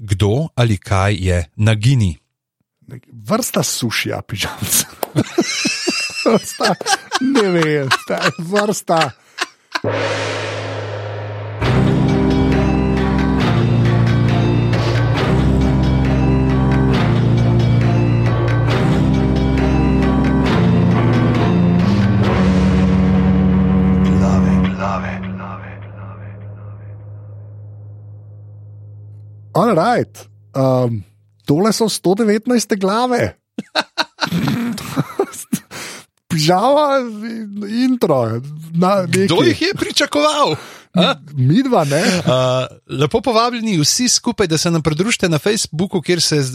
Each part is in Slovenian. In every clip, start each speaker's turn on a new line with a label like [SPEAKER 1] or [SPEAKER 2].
[SPEAKER 1] kdo ali kaj je nagini.
[SPEAKER 2] Vrsta sušija, pižamca. vrsta, ne vem, vrsta. All right. Um, tole so 119 glave. Pižama intro. Na, nekaj.
[SPEAKER 1] Kdo jih je pričakoval? A?
[SPEAKER 2] Midva, ne?
[SPEAKER 1] Uh, lepo povabljeni vsi skupaj, da se nam pridružite na Facebooku, kjer se uh,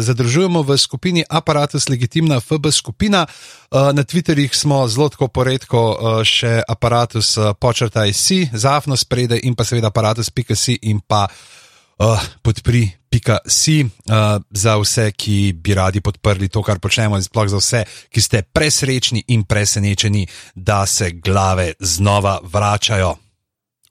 [SPEAKER 1] zadružujemo v skupini Apparatus Legitimna FB skupina. Uh, na Twitterjih smo zelo tako poredko uh, še aparatus uh, počrtaj si, zafno sprede in pa seveda aparatus.si in pa uh, podpri.si uh, za vse, ki bi radi podprli to, kar počnemo, in sploh za vse, ki ste presrečni in presenečeni, da se glave znova vračajo.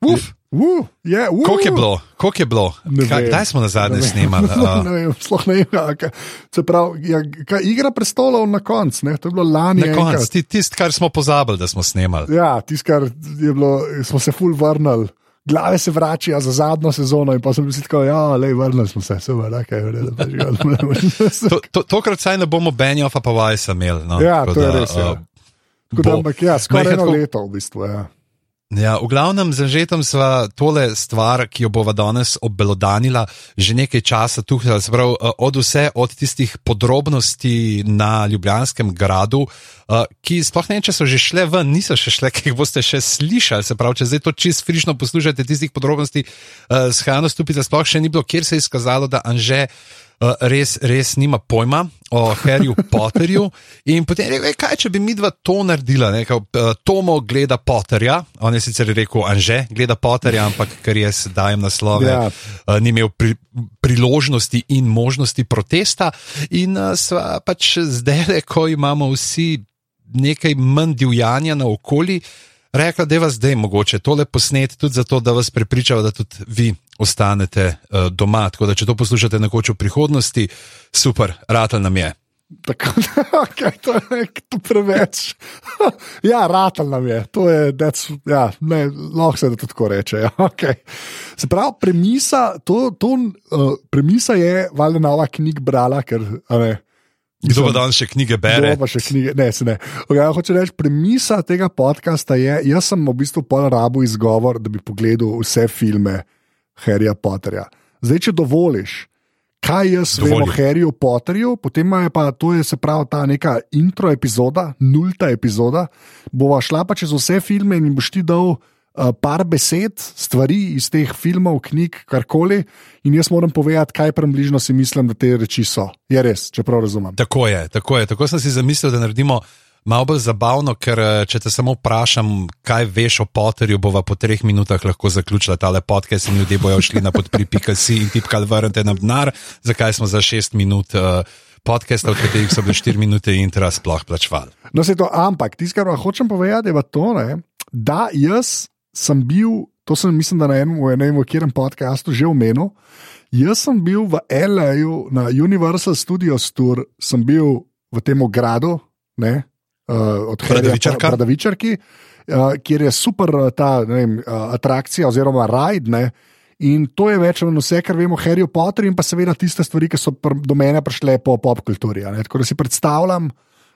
[SPEAKER 1] Uf,
[SPEAKER 2] Uh, yeah, uh,
[SPEAKER 1] koliko je bilo, koliko je bilo,
[SPEAKER 2] Ne
[SPEAKER 1] Kaj,
[SPEAKER 2] vem.
[SPEAKER 1] kdaj smo na zadnje
[SPEAKER 2] Ne vem.
[SPEAKER 1] snemali?
[SPEAKER 2] No,
[SPEAKER 1] Uh,
[SPEAKER 2] ne vem, sploh ne vem. a kaj- Se pravi, ja, kaj igra prestolov na koncu, ne? to je bilo lani.
[SPEAKER 1] Na koncu,
[SPEAKER 2] enkrat.
[SPEAKER 1] ti- tisto, kar smo pozabili, da smo snemali.
[SPEAKER 2] Ja, tisto, kar je bilo, smo se ful vrnili. Glave se vračajo za zadnjo sezono, in pa sem bil tako, ja, le vrnili smo se, super, okay, vrede, pa že
[SPEAKER 1] To, to, tokrat saj ne bomo Benjofa pa Vajsa imeli. No,
[SPEAKER 2] Ja,
[SPEAKER 1] tako
[SPEAKER 2] to je
[SPEAKER 1] da,
[SPEAKER 2] res. Ja.
[SPEAKER 1] uh,
[SPEAKER 2] Tako da,
[SPEAKER 1] bo.
[SPEAKER 2] ampak, ja, skoraj
[SPEAKER 1] Majhen
[SPEAKER 2] eno
[SPEAKER 1] tako-
[SPEAKER 2] leto v bistvu. Ja.
[SPEAKER 1] Ja, v glavnem, z Anžetom sva tole stvar, ki jo bova danes obelodanila, že nekaj časa tuhnila, se pravi, eh, od vse, od tistih podrobnosti na Ljubljanskem gradu, eh, ki sploh ne vem, če so že šle ven, niso še šle, ki jih boste še slišali. Se pravi, če zdaj to čist frišno poslušate, tistih podrobnosti eh, s Hano Stupica sploh še ni bilo, kjer se je izkazalo, da Anže. eh, Res, res nima pojma o Harryju Potterju. In potem je rekel, "Ej, kaj če bi mi dva to naredila, ne, kao, eh, Tomo gleda Potterja, on je sicer rekel, Anže gleda Potterja, ampak ker jaz dajem naslove,
[SPEAKER 2] Ja.
[SPEAKER 1] ja. ni imel pri, priložnosti in možnosti protesta. In eh, sva pač zdaj, ko imamo vsi nekaj manj divjanja na okolju, rekla, da je vas zdaj mogoče tole posneti, tudi zato, da vas prepričava, da tudi vi ostanete uh, doma. Tako da, če to poslušate nekoč v prihodnosti, super, ratal nam je.
[SPEAKER 2] Tako da, okay, to je nek- to preveč. ja, ratal nam je, to je, that's- ja, ne, lahko se da tudi tako reče. Ja, okay. Se pravi, premisa, to, to, uh, premisa je, valjda, nova knjig brala, ker. a Ne,
[SPEAKER 1] Kdo pa danes še knjige bere?
[SPEAKER 2] Kdo pa še knjige, ne, se ne. Okay, hoče reči, premisa tega podcasta je, jaz sem v bistvu pol rabu izgovor, da bi pogledal vse filme Harryja Potterja. Zdaj, če dovoliš, kaj jaz Dovolim. vem o
[SPEAKER 1] Dovolim.
[SPEAKER 2] Harryju Potterju, potem ima je pa to je se pravi ta neka intro epizoda, nulta epizoda, bova šla pa čez vse filme in jim boš ti dal. uh, Par besed, stvari iz teh filmov, knjig, karkoli, in jaz moram povedati, kaj približno si mislim, da te reči so. Je res, čeprav razumem.
[SPEAKER 1] Tako je, tako je. Tako sem si zamislil, da naredimo malo bolj zabavno, ker eh, če te samo vprašam, kaj veš o Potterju, bova po treh minutah lahko zaključila ta lepot, ker se ljudje bojo šli na podpri.si in tipkali vrnite nam denar, zakaj smo za šest minut. Uh, Podcasta, v katerih so bile 4 minute intra, sploh plačvali.
[SPEAKER 2] No, se to, ampak tisto, kar vam hočem povedati, je pa to, ne, da jaz sem bil, to sem, mislim, da na enem, v enem, v katerem podkastu že omenil. Jaz sem bil v L.A.U. na Universal Studios Tour, sem bil v tem gradu, ne, uh, od
[SPEAKER 1] Bradavičarka.
[SPEAKER 2] Hrvatičarki, uh, kjer je super eh, ta ne vem, uh, atrakcija oziroma rajd. Ne, In to je več ali manj vse, kar vemo o Harryju Potterju, in pa seveda tiste stvari, ki so pr- do mene prišle po pop kulturi. a ne. Tako da si predstavljam,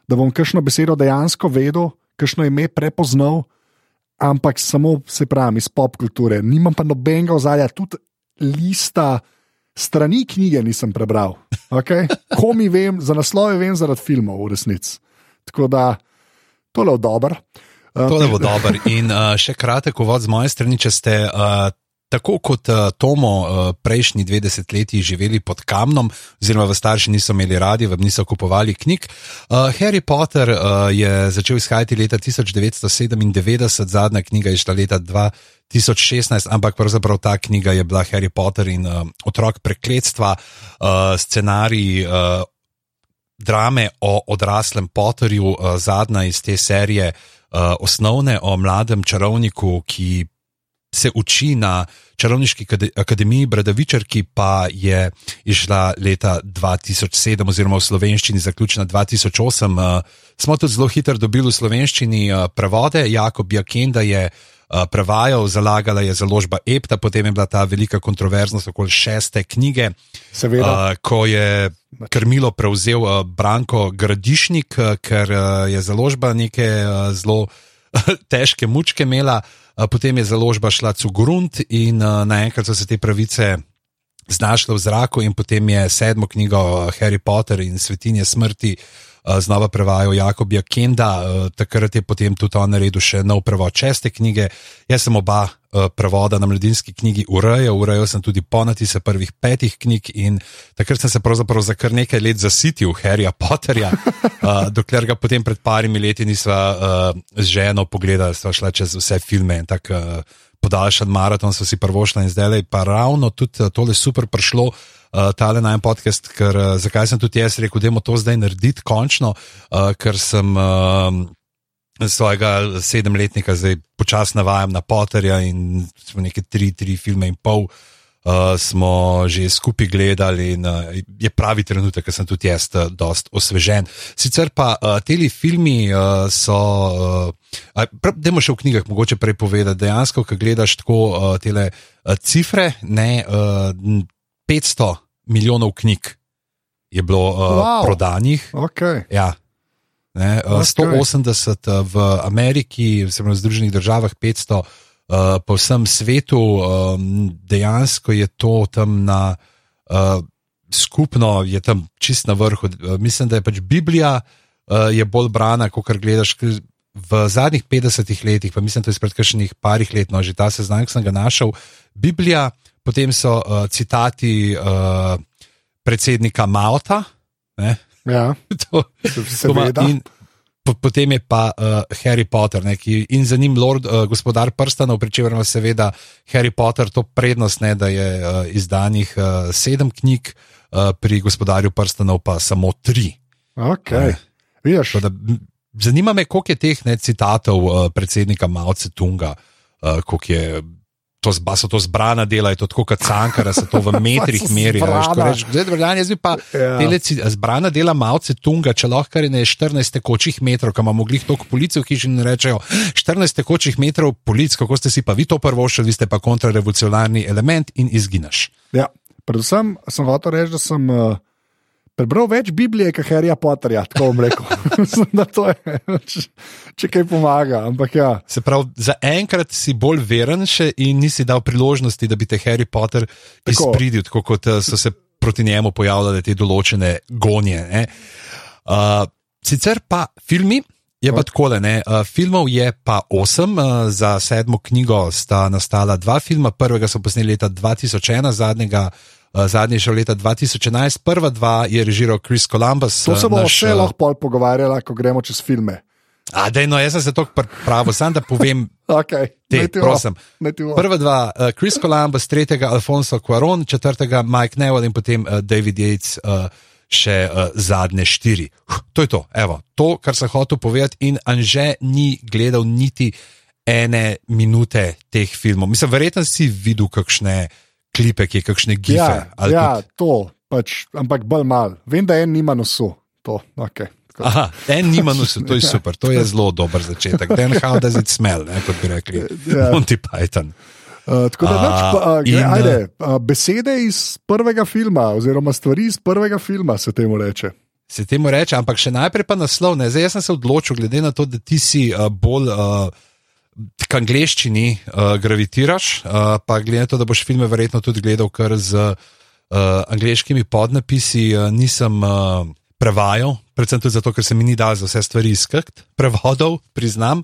[SPEAKER 2] da bom kakšno besedo dejansko vedel, kakšno ime prepoznal, ampak samo se pravi iz pop kulture. Nimam pa nobenega ozadja, tudi lista strani knjige nisem prebral. Okay? Komi vem, za naslove vem zaradi filmov, v resnici. Tako da tole je dobro. Ja. Ehm,
[SPEAKER 1] To bo dobro. In uh, še kratek uvod z moje strani, če ste. Uh, Tako kot uh, Tomo uh, prejšnji dve desetletji živeli pod kamnom, oziroma v starši niso imeli radi, vam niso kupovali knjig. Uh, Harry Potter uh, je začel izhajati leta 1997, zadnja knjiga je šla leta 2016, ampak pravzaprav ta knjiga je bila Harry Potter in uh, otrok prekletstva, uh, scenarij uh, drame o odraslem Potterju, eh, zadnja iz te serije, eh, osnovne o mladem čarovniku, ki se uči na Čarovniški kade- akademiji Bradavičarki, pa je išla leta 2007, oziroma v slovenščini zaključena 2008. Uh, smo tudi zelo hitro dobili v slovenščini uh, prevode, Jakob Jakenda je. uh, Prevajal, zalagala je založba Epta, potem je bila ta velika kontroverznost okoli šeste knjige,
[SPEAKER 2] Seveda.
[SPEAKER 1] Uh, ko je krmilo prevzel uh, Branko Gradišnik, uh, ker uh, je založba neke uh, zelo težke mučke imela, uh, potem je založba šla Cugrunt in uh, naenkrat so se te pravice. Znašla v zraku, in potem je sedmo knjigo uh, Harry Potter in Svetinje smrti uh, znova prevajal Jakob Jakenda, uh, takrat je potem tudi on naredil še nov prevod šeste knjige. Jaz sem oba uh, prevoda na mladinski knjigi urejal, urejal sem tudi ponatise prvih petih knjig in takrat sem se pravzaprav za kar nekaj let zasitil Harryja Potterja, uh, dokler ga potem pred parimi leti nisva uh, z ženo pogledala, sva šla čez vse filme in tako. Uh, Podaljšan maraton so si prvošla in zdaj je pa ravno tudi eh, tole super prišlo, uh, tale najem podcast, ker uh, zakaj sem tudi jaz rekel, da je to zdaj narediti končno, uh, ker sem uh, svojega sedemletnika zdaj počasi navajam na Potterja in smo neke tri, tri filme in pol. Uh, smo že skupaj gledali, in uh, je pravi trenutek, ker sem tudi jaz uh, dost osvežen. Sicer pa uh, teli filmi uh, so, uh, dajmo še v knjigah, mogoče prej povedati, dejansko, ko gledaš tako uh, tele uh, cifre, ne, uh, 500 milijonov knjig je bilo uh, wow.
[SPEAKER 2] Wow.
[SPEAKER 1] prodanih,
[SPEAKER 2] Okay.
[SPEAKER 1] Ja. Ne, eh,
[SPEAKER 2] Ok.
[SPEAKER 1] 180 v Ameriki, se pravi v Združenih državah, 500 eh, po vsem svetu, em, dejansko je to tam na eh, skupno, je tam čist na vrhu. Eh, Mislim, da je pač Biblija eh, je bolj brana, kot kar gledaš. ker V zadnjih 50 letih, pa mislim, da je izpred kakšnih parih let, no, že ta seznam, ki sem ga našel, Biblija, potem so uh, citati uh, predsednika Mauta, ne,
[SPEAKER 2] Ja,
[SPEAKER 1] to, to ima-
[SPEAKER 2] seveda.
[SPEAKER 1] in po- Potem je pa uh, Harry Potter, ne, ki, in za njim Lord, uh, gospodar prstanov, pri čemer ima seveda Harry Potter to prednost, ne, da je uh, izdanih uh, sedem knjig, uh, pri gospodarju prstanov pa samo tri.
[SPEAKER 2] Okay. Vidiš,
[SPEAKER 1] Tako Da, m, zanima me, koliko je teh ne, citatov uh, predsednika Mao Tse-tunga, uh, koliko je. To zba, so to zbrana dela, je to tako kot cankara, se to v metrih
[SPEAKER 2] Pa so
[SPEAKER 1] meri. a veš, ko
[SPEAKER 2] zbrana.
[SPEAKER 1] rečeš, Zdaj, državljan, jaz bi pa
[SPEAKER 2] Ja.
[SPEAKER 1] Tele ci- Zbrana dela malce tunga, če lahko kar je ne 14 tekočih metrov, kam imamo glih toliko policij v hiši in rečejo 14 tekočih metrov polic, kako ste si pa vi to prvo šli, vi ste pa kontrarevolucionarni element in izginaš.
[SPEAKER 2] Ja, predvsem sem hotel reči, da sem uh, prebral več Biblije, kot Harryja Potterja, tako bom rekel. Mislim, da to je, če, če kaj pomaga. Ampak ja,
[SPEAKER 1] Se pravi, za enkrat si bolj veren še in nisi dal priložnosti, da bi te Harry Potter
[SPEAKER 2] Tako.
[SPEAKER 1] izpridil, tako kot eh, so se proti njemu pojavljale te določene gonje. Ne? Uh, sicer pa filmi. Je pa tako, uh, filmov je pa osem, uh, za sedmo knjigo sta nastala dva filma. Prvega so posneli leta 2001, zadnjega, uh, zadnji je šel leta 2011, prva dva je režiral Chris Columbus.
[SPEAKER 2] to
[SPEAKER 1] eh,
[SPEAKER 2] se bomo
[SPEAKER 1] naš,
[SPEAKER 2] še
[SPEAKER 1] eh,
[SPEAKER 2] lahko pol pogovarjali, ko gremo čez filme.
[SPEAKER 1] A, dej, no, jaz sem se tako pripravil, samo da povem,
[SPEAKER 2] Okay,
[SPEAKER 1] Te,
[SPEAKER 2] naj ti bo,
[SPEAKER 1] prosim.
[SPEAKER 2] naj ti bo.
[SPEAKER 1] Prva dva, uh, Chris Columbus, tretjega Alfonso Cuaron, četrtega Mike Neville in potem uh, David Yates, uh, še uh, zadnje štiri. Huh, to je to, evo, to, kar sem hotel povedati, in Anže ni gledal niti ene minute teh filmov. Mislim, verjetno si videl kakšne klipe, ki je kakšne gife.
[SPEAKER 2] ja,
[SPEAKER 1] ali
[SPEAKER 2] ja
[SPEAKER 1] tudi-
[SPEAKER 2] to, pač, ampak bolj mal. Vem, da en nima nosu. To, okay, tako.
[SPEAKER 1] Aha, en nima nosu, to je super, to je zelo dober začetek. Then how does it smell, ne, kot bi rekli
[SPEAKER 2] Ja.
[SPEAKER 1] Monty Python.
[SPEAKER 2] Uh, tako da,
[SPEAKER 1] A,
[SPEAKER 2] več, pa, uh, gre,
[SPEAKER 1] in, eh,
[SPEAKER 2] ajde, uh, besede iz prvega filma, oziroma stvari iz prvega filma se temu reče.
[SPEAKER 1] se temu reče, ampak še najprej pa naslov. Ne? Zdaj jaz sem se odločil, glede na to, da ti si uh, bolj uh, k angleščini uh, gravitiraš, uh, pa glede na to, da boš filme verjetno tudi gledal kar z uh, angliškimi podnapisi, uh, nisem. Uh, Prevajal, predvsem tudi zato, ker se mi ni dal za vse stvari iskati, prevodov, priznam,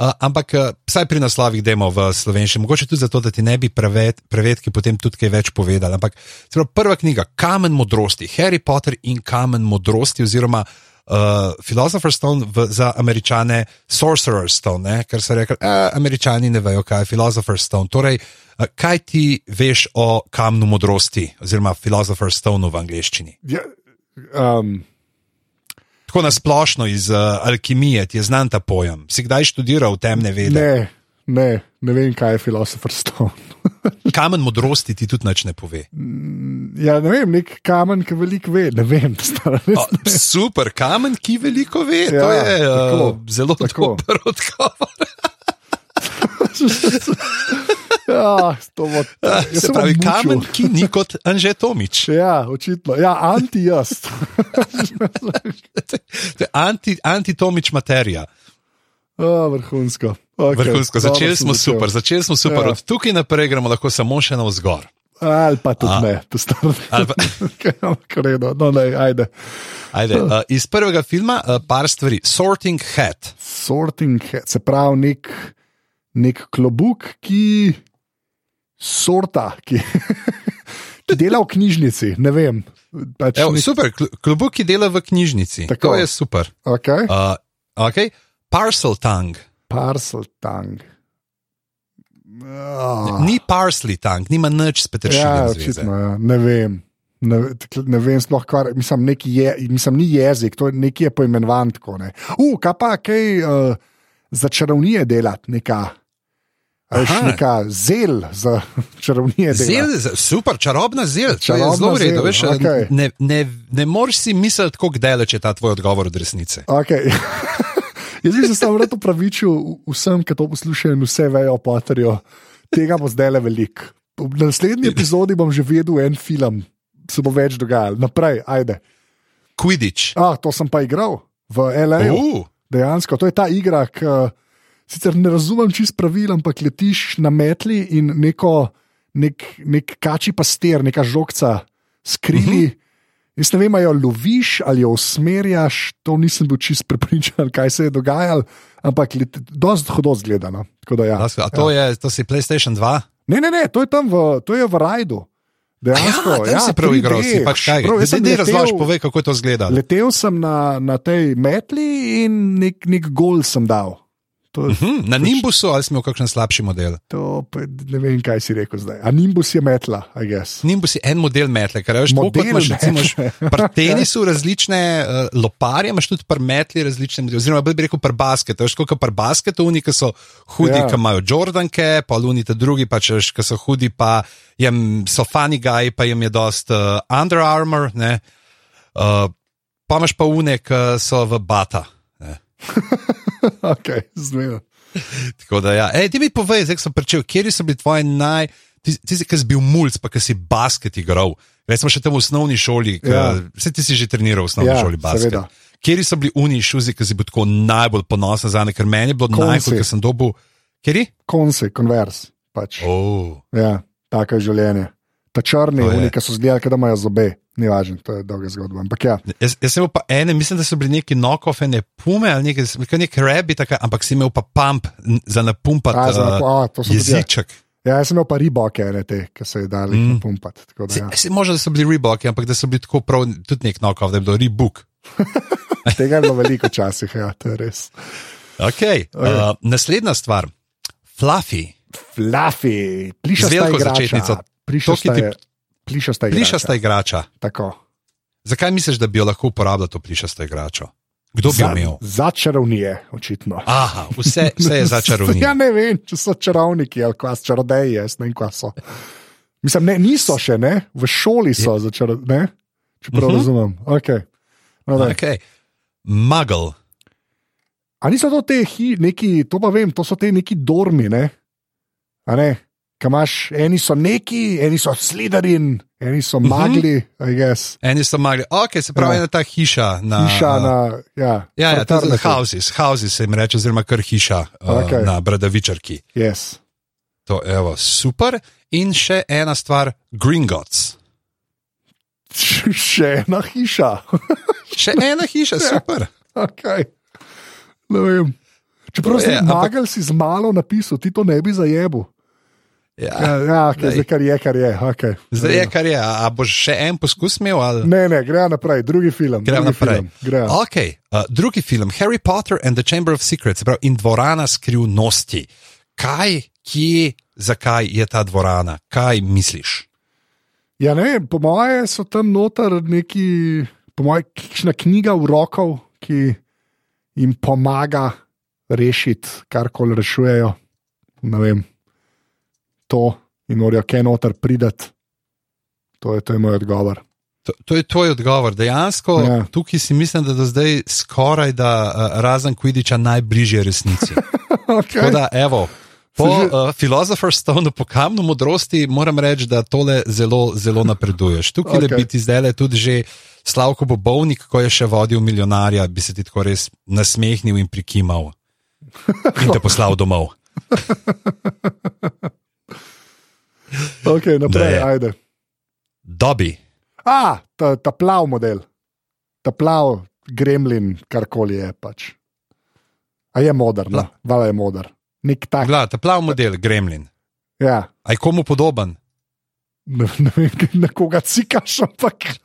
[SPEAKER 1] uh, ampak uh, vsaj pri naslovih demo v slovenščini, mogoče tudi zato, da ti ne bi prevet, prevetki potem tudi kaj več povedali. Ampak se pravi, prva knjiga, Kamen modrosti, Harry Potter in Kamen modrosti, oziroma uh, Philosopher's Stone v, za američane Sorcerer's Stone, ne? ker so rekli, eh, američani ne vejo, kaj je Philosopher's Stone. Torej, eh, kaj ti veš o kamnu modrosti, oziroma Philosopher's Stone v angleščini?
[SPEAKER 2] Ja, um,
[SPEAKER 1] Tako nasplošno iz uh, alkimije ti je znan ta pojem. Si kdaj študiral temne vede?
[SPEAKER 2] ne, Ne, ne vem, kaj je Philosopher's Stone.
[SPEAKER 1] Kamen modrosti ti tudi nič ne pove.
[SPEAKER 2] ja, ne vem, nek kamen, ki veliko ve. Ne vem, stara res.
[SPEAKER 1] O, super, kamen, ki veliko ve, ja, to
[SPEAKER 2] Ja,
[SPEAKER 1] je tako, uh,
[SPEAKER 2] tako,
[SPEAKER 1] zelo
[SPEAKER 2] tako.
[SPEAKER 1] tako. dober odgovor.
[SPEAKER 2] Ja, to bo. jaz
[SPEAKER 1] eh, Se
[SPEAKER 2] se bom
[SPEAKER 1] pravi,
[SPEAKER 2] mučil.
[SPEAKER 1] kamen, ki ni kot Anže Tomič.
[SPEAKER 2] Ja, očitno. Ja, anti-jaz.
[SPEAKER 1] To je Anti, anti-Tomič materija.
[SPEAKER 2] Oh, vrhunsko. Okay,
[SPEAKER 1] Vrhunsko,
[SPEAKER 2] dobro
[SPEAKER 1] začeli
[SPEAKER 2] si
[SPEAKER 1] smo
[SPEAKER 2] začel.
[SPEAKER 1] super, začeli smo super,
[SPEAKER 2] Ja.
[SPEAKER 1] od tukaj naprej gremo lahko samo še navzgor.
[SPEAKER 2] Ali pa tudi
[SPEAKER 1] A.
[SPEAKER 2] ne, to staro.
[SPEAKER 1] Ali pa-
[SPEAKER 2] Kredo, no, ne, ajde.
[SPEAKER 1] Ajde,
[SPEAKER 2] Ja.
[SPEAKER 1] uh, iz prvega filma uh, par stvari. Sorting Hat.
[SPEAKER 2] Sorting, hat, se pravi, nek, nek klobuk, ki sorta, ki, ki dela v knjižnici, ne vem. Pač
[SPEAKER 1] Evo,
[SPEAKER 2] nek,
[SPEAKER 1] super, kl- klobuk, ki dela v knjižnici.
[SPEAKER 2] Tako.
[SPEAKER 1] To je super.
[SPEAKER 2] okay.
[SPEAKER 1] Uh, okay. Parcel tang.
[SPEAKER 2] Parcel tang. Ah.
[SPEAKER 1] Ni parsley tang, nima nič s
[SPEAKER 2] Ja,
[SPEAKER 1] peteršiljem. zveze.
[SPEAKER 2] očitno, ja. ne vem. Ne, takle- ne vem, sploh kar, mislim, neki je, mislim, ni jezik, to je nekje poimenovan tako. Ne. U, kaj pa, kaj uh, za čarovnije delati, neka, a veš,
[SPEAKER 1] Aha.
[SPEAKER 2] neka zel za čarovnije
[SPEAKER 1] Zel,
[SPEAKER 2] delati.
[SPEAKER 1] z- super, čarobna zel, čarobna
[SPEAKER 2] Čarobna
[SPEAKER 1] je zelo v redu.
[SPEAKER 2] zel,
[SPEAKER 1] Veš, eh,
[SPEAKER 2] okej.
[SPEAKER 1] ne, ne, ne moreš si misliti, kako daleč je ta tvoj odgovor od resnice.
[SPEAKER 2] Okay. Jaz bi se samo rad opravičil vsem, ki to poslušajo in vse vejo o Potterju. Tega bo zdaj le veliko. V naslednji epizodi bom že vedel en film, se bo več dogajalo. Naprej, ajde.
[SPEAKER 1] Quidditch.
[SPEAKER 2] A, to sem pa igral v L.A.
[SPEAKER 1] Uh,
[SPEAKER 2] Dejansko, to je ta igra, ki sicer ne razumem čist pravil, ampak letiš na metli in neko, nek, nek kači pastir, neka žogca skrivi.
[SPEAKER 1] Mhm.
[SPEAKER 2] Uh -huh. Jaz ne vem, ali jo loviš ali jo usmerjaš, to nisem bil čist prepričan, kaj se je dogajalo, ampak dosti hodo zgledano. Ja.
[SPEAKER 1] Uh, a to, je, to si PlayStation 2?
[SPEAKER 2] Ne, ne, ne, to je tam v, to je v rajdu. Dejansko,
[SPEAKER 1] ja, tam si prav
[SPEAKER 2] 3D.
[SPEAKER 1] igral, si pač kaj.
[SPEAKER 2] Prav, jaz sem
[SPEAKER 1] Zdaj
[SPEAKER 2] letel-
[SPEAKER 1] razložiš, povej, kako je to zgleda.
[SPEAKER 2] Letel sem na, na tej metli in nek, nek gol sem dal. To,
[SPEAKER 1] Hm,
[SPEAKER 2] Pač-
[SPEAKER 1] na Nimbusu ali smo v kakšnem slabšem modelu?
[SPEAKER 2] to, pa ne vem, kaj si rekel zdaj. A Nimbus je metla, a jaz.
[SPEAKER 1] Nimbus je en model metle, ker veš, tako kot
[SPEAKER 2] Model
[SPEAKER 1] imaš recimo,
[SPEAKER 2] metle.
[SPEAKER 1] imaš pri tenisu različne uh, loparje, imaš tudi pri metli različne, oziroma bolj bi rekel pri basketu. Veš, kot pri basketu, oni, ki so hudi,
[SPEAKER 2] Ja.
[SPEAKER 1] ki imajo Jordanke, pa oni te drugi, pač, veš, ki so hudi, pa jem, so funny guy, pa jim je dost uh, Under Armour, ne. Uh, pa imaš pa une, ki so v bata. Ne.
[SPEAKER 2] Okay, zmerno.
[SPEAKER 1] Tako da, ja. Ej, ti mi povej, zdaj ko sem pričel, kje so bili tvoji naj. Ti, ti si, ki si bil mulj, pa ki si basket igral. Recimo še tam v osnovni šoli, ki, ja.
[SPEAKER 2] Ja.
[SPEAKER 1] vse ti si že treniral v osnovni
[SPEAKER 2] Ja,
[SPEAKER 1] ja, šoli basket.
[SPEAKER 2] seveda.
[SPEAKER 1] Kje so bili uniji šuzi, ki si bil tako najbolj ponosen za ne, ker meni je bilo
[SPEAKER 2] Konci.
[SPEAKER 1] najhujše, ker sem dobil. Kjer je?
[SPEAKER 2] Konce, konvers. Pač.
[SPEAKER 1] Oh.
[SPEAKER 2] Ja, tako je življenje. Ta črni,
[SPEAKER 1] To je.
[SPEAKER 2] oni, ki so zgledali, kot da imajo zobe, ni važno, to je dolga zgodba. Ampak ja,
[SPEAKER 1] Jaz, jaz sem imel pa ene, mislim, da so bili neki knock-off, ene pume ali nekaj, nekaj nek rabi, taka, ampak si imel pa pump n- za napumpati
[SPEAKER 2] a, za,
[SPEAKER 1] uh,
[SPEAKER 2] a, to so ljudje.
[SPEAKER 1] jeziček.
[SPEAKER 2] Ja, jaz sem imel pa riboke, ne te, ki so jih dali
[SPEAKER 1] Mm.
[SPEAKER 2] mm. pumpati. tako da,
[SPEAKER 1] Se,
[SPEAKER 2] Ja.
[SPEAKER 1] se, možda da so bili reboki, ampak da so bili tako prav, tudi nek knock-off, da je bilo rebook. Ja.
[SPEAKER 2] Tega je bilo veliko včasih, ja, to je res.
[SPEAKER 1] Okay. Okay. Uh, naslednja stvar, Fluffy.
[SPEAKER 2] Fluffy, plišasta
[SPEAKER 1] Z veliko
[SPEAKER 2] igrača.
[SPEAKER 1] začetnico.
[SPEAKER 2] Plišasta
[SPEAKER 1] To, ki ti-
[SPEAKER 2] je- Plišasta igrača.
[SPEAKER 1] Plišasta igrača.
[SPEAKER 2] Tako.
[SPEAKER 1] Zakaj misliš, da bi jo lahko uporabljal to plišasto igračo? Kdo bi jo imel?
[SPEAKER 2] Za, za čarovnije, očitno.
[SPEAKER 1] Aha, vse, vse je začarovno.
[SPEAKER 2] Ja, ne vem, če so čarovniki ali kva so čarodeji, jaz ne vem, kva so. Mislim, ne, niso še, ne? v šoli so za čarodeje, če prav
[SPEAKER 1] Mhm.
[SPEAKER 2] razumem. Okay. No, daj.
[SPEAKER 1] Okay. Muggle.
[SPEAKER 2] A niso to te hi, neki, to pa vem, to so te neki dormi, ne? A ne? Kaj imaš, eni so neki, eni so slidarin, eni so
[SPEAKER 1] Mhm.
[SPEAKER 2] magli, uh -huh. I guess.
[SPEAKER 1] Eni so magli. Ok, se pravi,
[SPEAKER 2] Ja.
[SPEAKER 1] ja. ena ta hiša. Na,
[SPEAKER 2] Piša na, ja,
[SPEAKER 1] Ja, ja, to je
[SPEAKER 2] fraternity.
[SPEAKER 1] houses, houses se jim reče, oziroma kar hiša okay.
[SPEAKER 2] Okej.
[SPEAKER 1] uh, na Bradavičarki.
[SPEAKER 2] Yes.
[SPEAKER 1] To je super. In še ena stvar, Gringotts.
[SPEAKER 2] Še ena hiša.
[SPEAKER 1] Še ena hiša, super.
[SPEAKER 2] Okay. Ne vem.
[SPEAKER 1] To No,
[SPEAKER 2] Čeprav
[SPEAKER 1] je,
[SPEAKER 2] si
[SPEAKER 1] ampak-
[SPEAKER 2] magel si z malo napisal, ti to ne bi zajebil.
[SPEAKER 1] Ja.
[SPEAKER 2] Ja, ja okay,
[SPEAKER 1] daj.
[SPEAKER 2] zdaj kar je, kar je. Okay.
[SPEAKER 1] Zdaj je, kar je. A a boš še en poskus imel? Ali?
[SPEAKER 2] Ne, ne, gre naprej, drugi film.
[SPEAKER 1] Gremo
[SPEAKER 2] drugi
[SPEAKER 1] naprej.
[SPEAKER 2] Film, gremo.
[SPEAKER 1] Okay, uh, drugi film, Harry Potter and the Chamber of Secrets, se pravi, in dvorana skrivnosti. Kaj, kje, zakaj je ta dvorana, kaj misliš?
[SPEAKER 2] Ja, ne vem, po moje so tam noter neki, po moje, kakšna knjiga urokov, ki jim pomaga rešiti, kar koli rešujejo. ne vem, to in morajo kaj noter pridati. To je, to je moj odgovor.
[SPEAKER 1] To, to je tvoj odgovor. Dejansko
[SPEAKER 2] Ja.
[SPEAKER 1] ja. tukaj si mislim, da do zdaj skoraj da eh, razen Kvidiča najbližje resnici. Tako
[SPEAKER 2] Okay.
[SPEAKER 1] da, evo, po
[SPEAKER 2] Se že-
[SPEAKER 1] uh, Philosopher's Stone, po kamnu modrosti, moram reči, da tole zelo, zelo napreduješ. Tukaj okay.
[SPEAKER 2] Okej.
[SPEAKER 1] bi ti zdaj tudi že Slavko Bobovnik, ko je še vodil milijonarja, bi se ti tako res nasmehnil in prikimal in te poslal domov.
[SPEAKER 2] Okay, naprej,
[SPEAKER 1] Ne.
[SPEAKER 2] ajde.
[SPEAKER 1] Dobi.
[SPEAKER 2] A, ta, ta plav model, ta plav gremlin, karkoli je pač. A je modar, no?
[SPEAKER 1] Pla-
[SPEAKER 2] vala je modar. Nek tak.
[SPEAKER 1] Gleda, ta plav model, gremlin.
[SPEAKER 2] Ja.
[SPEAKER 1] Aj komu podoben?
[SPEAKER 2] Ne, ne vem, kaj- na koga cikaš, ampak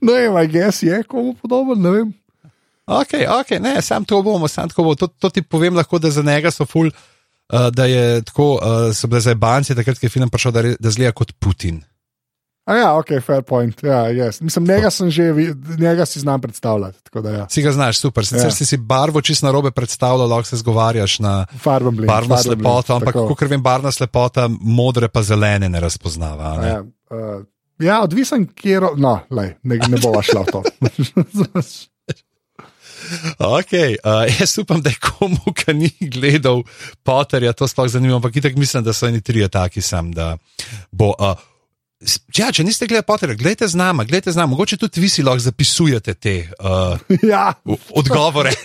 [SPEAKER 2] ne vem, aj gess je komu podoben, ne vem.
[SPEAKER 1] Ok, ok, ne, sam to bomo, sam tako bo. To, to ti povem lahko, da za njega so ful, uh, da je tako, uh, so bile zdaj banci, takrat, ko je film prišel, da, re, da zgleda kot Putin.
[SPEAKER 2] A ja, ok, fair point. Ja, yes. Mislim, njega sem že, vi- njega si znam predstavljati. tako da Ja.
[SPEAKER 1] Si ga znaš, super. Sicer
[SPEAKER 2] Ja.
[SPEAKER 1] ja. si si barvo čisto na robe predstavljal, lahko se zgovarjaš na
[SPEAKER 2] Farben blin.
[SPEAKER 1] barvno
[SPEAKER 2] farben blin,
[SPEAKER 1] slepoto, ampak
[SPEAKER 2] tako.
[SPEAKER 1] kot vem, barvna slepota modre pa zelene ne razpoznava. a Ne?
[SPEAKER 2] Ja, uh, ja, odvisen, kje. ro- No, lej, ne, ne bova šla v to.
[SPEAKER 1] Ok, uh, jaz upam, da je komu, ki ni gledal Potterja, to sploh zanima, ampak itak mislim, da so eni trije taki sam. da Bo, uh, s- ja, če niste gledali Potterja, gledajte z nama, gledajte z nama, mogoče tudi vi si lahko zapisujete te uh,
[SPEAKER 2] ja,
[SPEAKER 1] v- odgovore.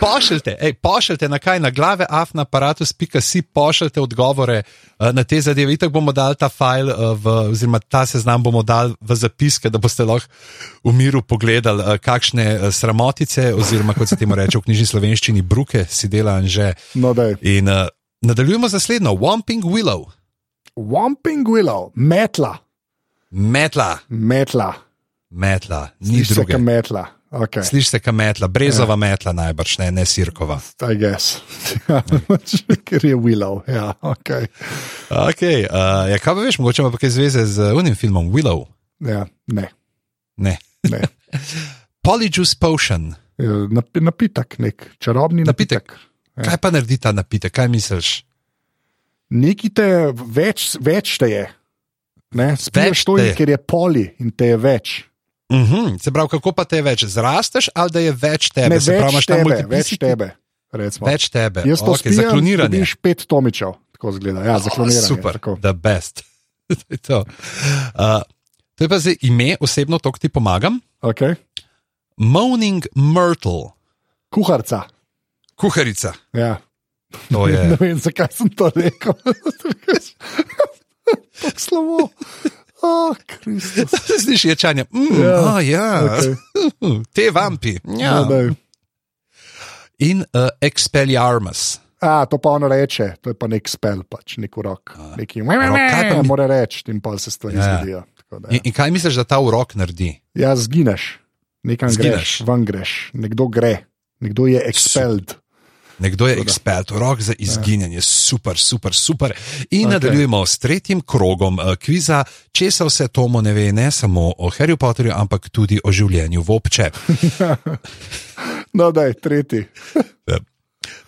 [SPEAKER 1] Pošljite, ej, pošljite na kaj, na glave, af na aparatus.si, pošljite odgovore uh, na te zadeve. Itak bomo dali ta file, uh, v, oziroma ta seznam bomo dali v zapiske, da boste lahko v miru pogledali, uh, kakšne uh, sramotice, oziroma kot se temu reče v knjižni slovenščini, bruke si dela anže.
[SPEAKER 2] no, da je.
[SPEAKER 1] In uh, nadaljujemo z naslednjo, Wamping Willow,
[SPEAKER 2] Wamping Willow, metla,
[SPEAKER 1] metla,
[SPEAKER 2] metla,
[SPEAKER 1] metla, ni
[SPEAKER 2] nič
[SPEAKER 1] druge.
[SPEAKER 2] vsega metla. Okay.
[SPEAKER 1] Slišiš se, kam metla, brezova metla najbrž, ne, ne sirkova.
[SPEAKER 2] I guess. Ja, Ker je Willow. Ja, okay.
[SPEAKER 1] Okay, uh, ja, kaj pa veš, mogoče ima pa kaj zveze z unim filmom Willow.
[SPEAKER 2] ja, ne.
[SPEAKER 1] Ne.
[SPEAKER 2] ne.
[SPEAKER 1] Polyjuice potion.
[SPEAKER 2] Ja, napi- Napitek, nek čarobni napitek.
[SPEAKER 1] Napitek.
[SPEAKER 2] napitek.
[SPEAKER 1] Kaj pa naredi ta napitek, kaj misliš?
[SPEAKER 2] Nekaj te več, več te je. Ne, spiješ
[SPEAKER 1] Več
[SPEAKER 2] to,
[SPEAKER 1] te
[SPEAKER 2] in
[SPEAKER 1] je.
[SPEAKER 2] ker je poli in te je več.
[SPEAKER 1] Uh -huh, se pravi, kako pa te je več? Zrasteš ali Ja, da je več tebe?
[SPEAKER 2] Ne,
[SPEAKER 1] se pravi,
[SPEAKER 2] več
[SPEAKER 1] imaš ta
[SPEAKER 2] tebe,
[SPEAKER 1] multiplicity-
[SPEAKER 2] več tebe. Recimo.
[SPEAKER 1] Več tebe.
[SPEAKER 2] Jaz to
[SPEAKER 1] Ok,
[SPEAKER 2] spijem,
[SPEAKER 1] za kloniranje.
[SPEAKER 2] Dobiš pet tomičev, tako zgleda. Ja, za kloniranje.
[SPEAKER 1] Oh, super,
[SPEAKER 2] tako.
[SPEAKER 1] the best. to je to. Uh, to je pa zdaj ime, osebno to ti pomagam.
[SPEAKER 2] Okay.
[SPEAKER 1] Moaning Myrtle,
[SPEAKER 2] Kuharca.
[SPEAKER 1] kuharica.
[SPEAKER 2] Ja.
[SPEAKER 1] To
[SPEAKER 2] Ne
[SPEAKER 1] je.
[SPEAKER 2] vem, zakaj sem to rekel. Tako Slabo. Oh, Kristus.
[SPEAKER 1] Slišiš ječanje. Mm,
[SPEAKER 2] Ja,
[SPEAKER 1] ja, a, ja.
[SPEAKER 2] okej.
[SPEAKER 1] Okay. te vampi.
[SPEAKER 2] No,
[SPEAKER 1] Ja.
[SPEAKER 2] daj.
[SPEAKER 1] In uh, Expelliarmus.
[SPEAKER 2] A, to pa ono reče, to je pa nek spel, pač nek urok. Neki, me, me,
[SPEAKER 1] Urok, kaj
[SPEAKER 2] me,
[SPEAKER 1] pa mi-
[SPEAKER 2] mora reči, in pa se stvari
[SPEAKER 1] Ja, ja.
[SPEAKER 2] zgodijo. Tako da,
[SPEAKER 1] In, in kaj misliš, da ta urok naredi?
[SPEAKER 2] Ja, zgineš, nekam
[SPEAKER 1] Zgineš.
[SPEAKER 2] greš, ven greš, nekdo gre, nekdo je expelled.
[SPEAKER 1] Nekdo je ekspert, rok za izginjanje, super, super, super. In okay. nadaljujemo s tretjim krogom eh, kviza, česa vse Tomo ne ve, ne samo o Harry Potterju, ampak tudi o življenju v obče.
[SPEAKER 2] No, da je tretji.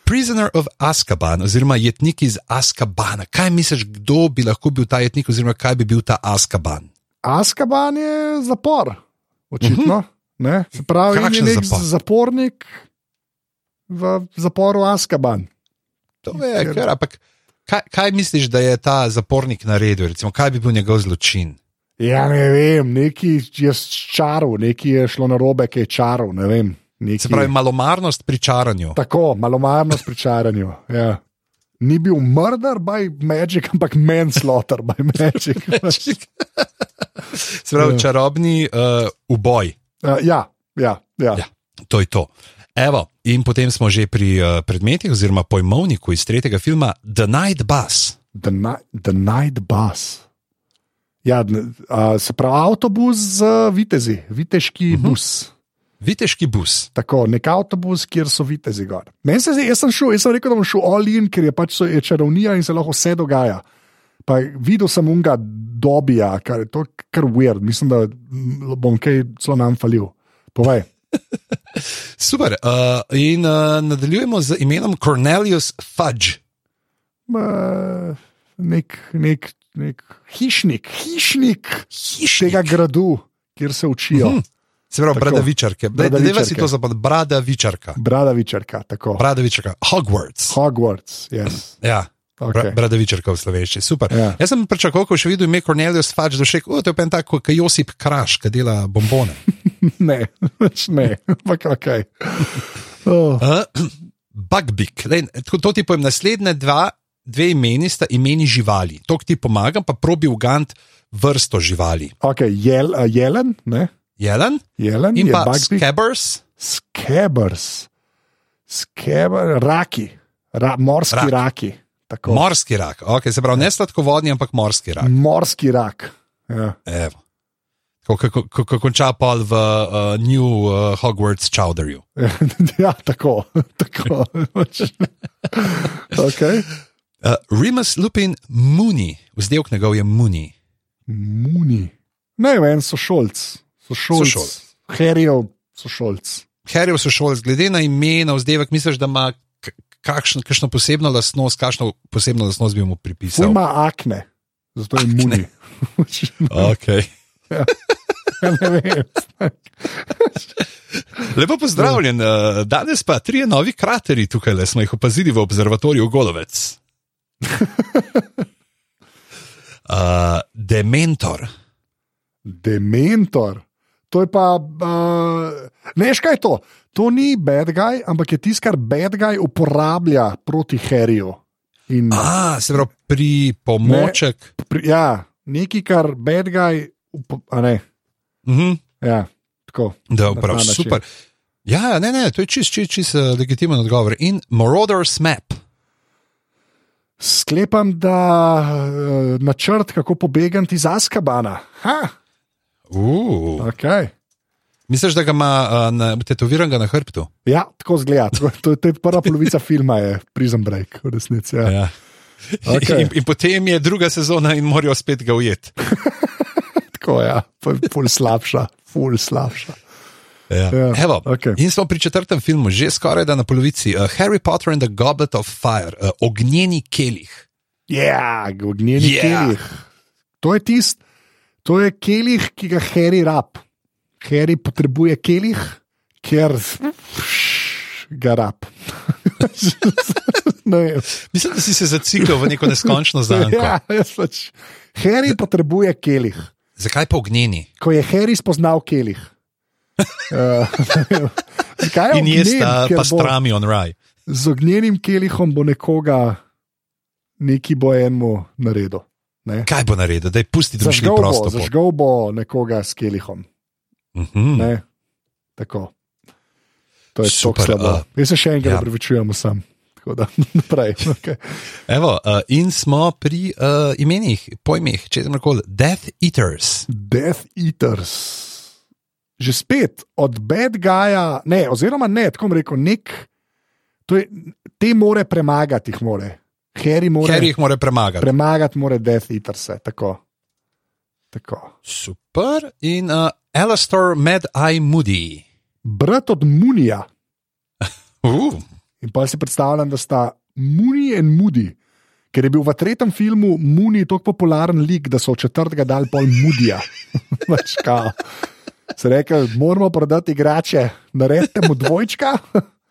[SPEAKER 1] Prisoner of Azkaban, oziroma jetnik iz Azkabana. Kaj misliš, kdo bi lahko bil ta jetnik, oziroma kaj bi bil ta Azkaban?
[SPEAKER 2] Askaban je zapor, očitno. Uh -huh. Ne? Se pravi,
[SPEAKER 1] Mhm. Kakšen
[SPEAKER 2] je nek
[SPEAKER 1] zapor?
[SPEAKER 2] zapornik v zaporu Askaban.
[SPEAKER 1] To je, ker, ampak kaj, kaj misliš, da je ta zapornik naredil, recimo, kaj bi bil njegov zločin?
[SPEAKER 2] Ja, ne vem, neki je čarov, neki je šlo na robe, ki je čarov. Ne vem.
[SPEAKER 1] Se
[SPEAKER 2] Neki...
[SPEAKER 1] pravi, malomarnost pri čaranju.
[SPEAKER 2] Tako, malomarnost pri čaranju. Ja. Ni bil murder by magic, ampak manslaughter by magic.
[SPEAKER 1] Se pravi,
[SPEAKER 2] Ja.
[SPEAKER 1] čarobni uh, uboj.
[SPEAKER 2] Uh, ja, ja, ja. ja.
[SPEAKER 1] Ja. To je to. Evo, in potem smo že pri uh, predmetih, oziroma pojmovniku iz tretjega filma The Night Bus.
[SPEAKER 2] The, ni the night bus. Ja, dn- a, se pravi, avtobus z eh, vitezi, viteški uh -huh. bus.
[SPEAKER 1] Viteški bus.
[SPEAKER 2] Tako, nek avtobus, kjer so vitezi gor. Meni se zdi, jaz sem šel, jaz sem rekel, da bom šel all in, ker je pač so, je čarovnija in se lahko vse dogaja. Pa videl sem unga dobija, kar, to je kar weird, mislim, da mm, bom kaj celo nam falil. Povej.
[SPEAKER 1] eh, Super. Uh, in uh, nadaljujemo z imenom Cornelius Fudge.
[SPEAKER 2] uh, nek, nek, nek hišnik, hišnik, hišnik tega gradu, kjer se učijo.
[SPEAKER 1] Mhm. Se pravi,
[SPEAKER 2] Tako.
[SPEAKER 1] bradavičarke. Deva si
[SPEAKER 2] Bradavičarke.
[SPEAKER 1] to zapad, bradavičarka.
[SPEAKER 2] Bradavičarka, tako.
[SPEAKER 1] Bradavičarka, Hogwarts.
[SPEAKER 2] Hogwarts, yes.
[SPEAKER 1] Ja. Okay.
[SPEAKER 2] okay.
[SPEAKER 1] Bradavičarka v slovenščini, super.
[SPEAKER 2] Ja.
[SPEAKER 1] Jaz sem pričakoval, ko še videl ime Cornelius Fudge, da še kot je pa en tak, kot Josip Kraš, ki dela bombone.
[SPEAKER 2] ne, več ne, ampak ok. Oh,
[SPEAKER 1] Uh, Bugbik, Lej, E, tako to ti povem, naslednja dva, dve imeni sta imeni živali. To ki ti pomagam, pa probi ugant vrsto živali.
[SPEAKER 2] ok, jel, a, jelen, ne?
[SPEAKER 1] Jelen
[SPEAKER 2] jelen
[SPEAKER 1] in
[SPEAKER 2] je
[SPEAKER 1] pa
[SPEAKER 2] bugbeak.
[SPEAKER 1] Scabbers,
[SPEAKER 2] Skebers, skeber, raki, Ra, morski
[SPEAKER 1] Rak.
[SPEAKER 2] rak. raki. Tako.
[SPEAKER 1] morski rak, okay, se pravi ne sladkovodni, ampak morski rak.
[SPEAKER 2] Morski rak. Ja.
[SPEAKER 1] Evo. Tako kako- kako konča pol v uh, New uh, Hogwarts Chowderju.
[SPEAKER 2] ja, tako. tako. okay.
[SPEAKER 1] Uh, Remus Lupin Muni, vzdevk njegov je Muni.
[SPEAKER 2] Muni. Ne, en sošolc, sošolc,
[SPEAKER 1] Sošolc.
[SPEAKER 2] herijo sošolc.
[SPEAKER 1] Harry Sošolc, glede na ime, na vzdevek, misliš, da ima k- kakšen, kakšno posebno lastnost, kakšno posebno lastnost bi mu
[SPEAKER 2] Ful
[SPEAKER 1] pripisal?
[SPEAKER 2] ima akne, zato je muni.
[SPEAKER 1] Okay.
[SPEAKER 2] Ja, ne vem.
[SPEAKER 1] Lepo pozdravljen,
[SPEAKER 2] Ja.
[SPEAKER 1] eh, danes pa trije novi krateri tukaj, le smo jih opazili v observatoriju Golovec. Uh, Dementor.
[SPEAKER 2] Dementor. To je pa. Uh, ne, škaj je to. To ni bad guy, ampak je tisto, kar bad guy uporablja proti Harryju. In,
[SPEAKER 1] A, se pravi, pri pomoček.
[SPEAKER 2] pri, ja, nekaj, kar bad guy. Upo, a ne,
[SPEAKER 1] Mhm,
[SPEAKER 2] ja, tako.
[SPEAKER 1] da,
[SPEAKER 2] Na ta
[SPEAKER 1] prav,
[SPEAKER 2] način.
[SPEAKER 1] super. Ja, ja, ne, ne, to je čist, čist, čist eh, legitimen odgovor. In Marauders Map.
[SPEAKER 2] Sklepam, da uh, načrt, kako pobegati iz Askabana. Ha,
[SPEAKER 1] Uh.
[SPEAKER 2] okay.
[SPEAKER 1] Misliš, da ga ima eh, na- tetoviran ga na hrbtu?
[SPEAKER 2] Ja, tako zgleda. Tako, to, je- to je prva polovica filma, je Prison Break, v resnici. Ja.
[SPEAKER 1] Ja.
[SPEAKER 2] Okej.
[SPEAKER 1] In, in potem je druga sezona in morajo spet ga ujeti.
[SPEAKER 2] Tako, ja, ful, ful slabša, ful slabša.
[SPEAKER 1] Ja.
[SPEAKER 2] Ja,
[SPEAKER 1] Evo, okay.
[SPEAKER 2] okej.
[SPEAKER 1] In smo pri četrtem filmu, že skoraj da na polovici. Uh, Harry Potter and the Goblet of Fire, uh, ognjeni kelih.
[SPEAKER 2] Ja, ognjeni
[SPEAKER 1] Ja.
[SPEAKER 2] yeah. kelih. To je tisti, to je kelih, ki ga Harry rab. Harry potrebuje kelih, ker ga rab. Ne vem.
[SPEAKER 1] Mislim, da si se zaciklil v neko neskončno zanko. ja.
[SPEAKER 2] ja, jaz pač. Harry potrebuje kelih,
[SPEAKER 1] Zakaj pa ognjeni?
[SPEAKER 2] ko je Harry spoznal kelih. Uh, zakaj je
[SPEAKER 1] In jaz
[SPEAKER 2] E, ognjen?
[SPEAKER 1] ta
[SPEAKER 2] Ker bo-
[SPEAKER 1] pastrami on raj.
[SPEAKER 2] z ognjenim kelihom bo nekoga, neki bo enemu naredil. Ne?
[SPEAKER 1] Kaj bo naredil, da je pusti, da bi šli
[SPEAKER 2] Zažgal bo,
[SPEAKER 1] prosto. pot?
[SPEAKER 2] zažgal bo nekoga s kelihom.
[SPEAKER 1] Mhm.
[SPEAKER 2] Ne? Tako. To je
[SPEAKER 1] Super,
[SPEAKER 2] super.
[SPEAKER 1] a-
[SPEAKER 2] Uh, Jaz se še
[SPEAKER 1] ja.
[SPEAKER 2] enkrat opravičujem ja. sam. Tako da naprej. Okay.
[SPEAKER 1] Evo, uh, in smo pri uh, imenih, pojmih, če sem rekel, Death Eaters.
[SPEAKER 2] Death Eaters. Že spet od bad guyja, ne, oziroma ne, tako bom rekel, nek, to je, te more premagati, jih more. Harry more
[SPEAKER 1] Harry jih mora premagati.
[SPEAKER 2] premagati, more Death Eaterse. Tako. tako.
[SPEAKER 1] Super. In uh, Alastor Mad Eye Moody.
[SPEAKER 2] brat od Munija.
[SPEAKER 1] Uh,
[SPEAKER 2] In pa si predstavljam, da sta Muni in Mudi. Ker je bil v tretjem filmu Muni tako popularen lik, da so v četrtega dal pol Mudija. Pač kao. Se rekel, moramo prodati igrače, naredite mu dvojčka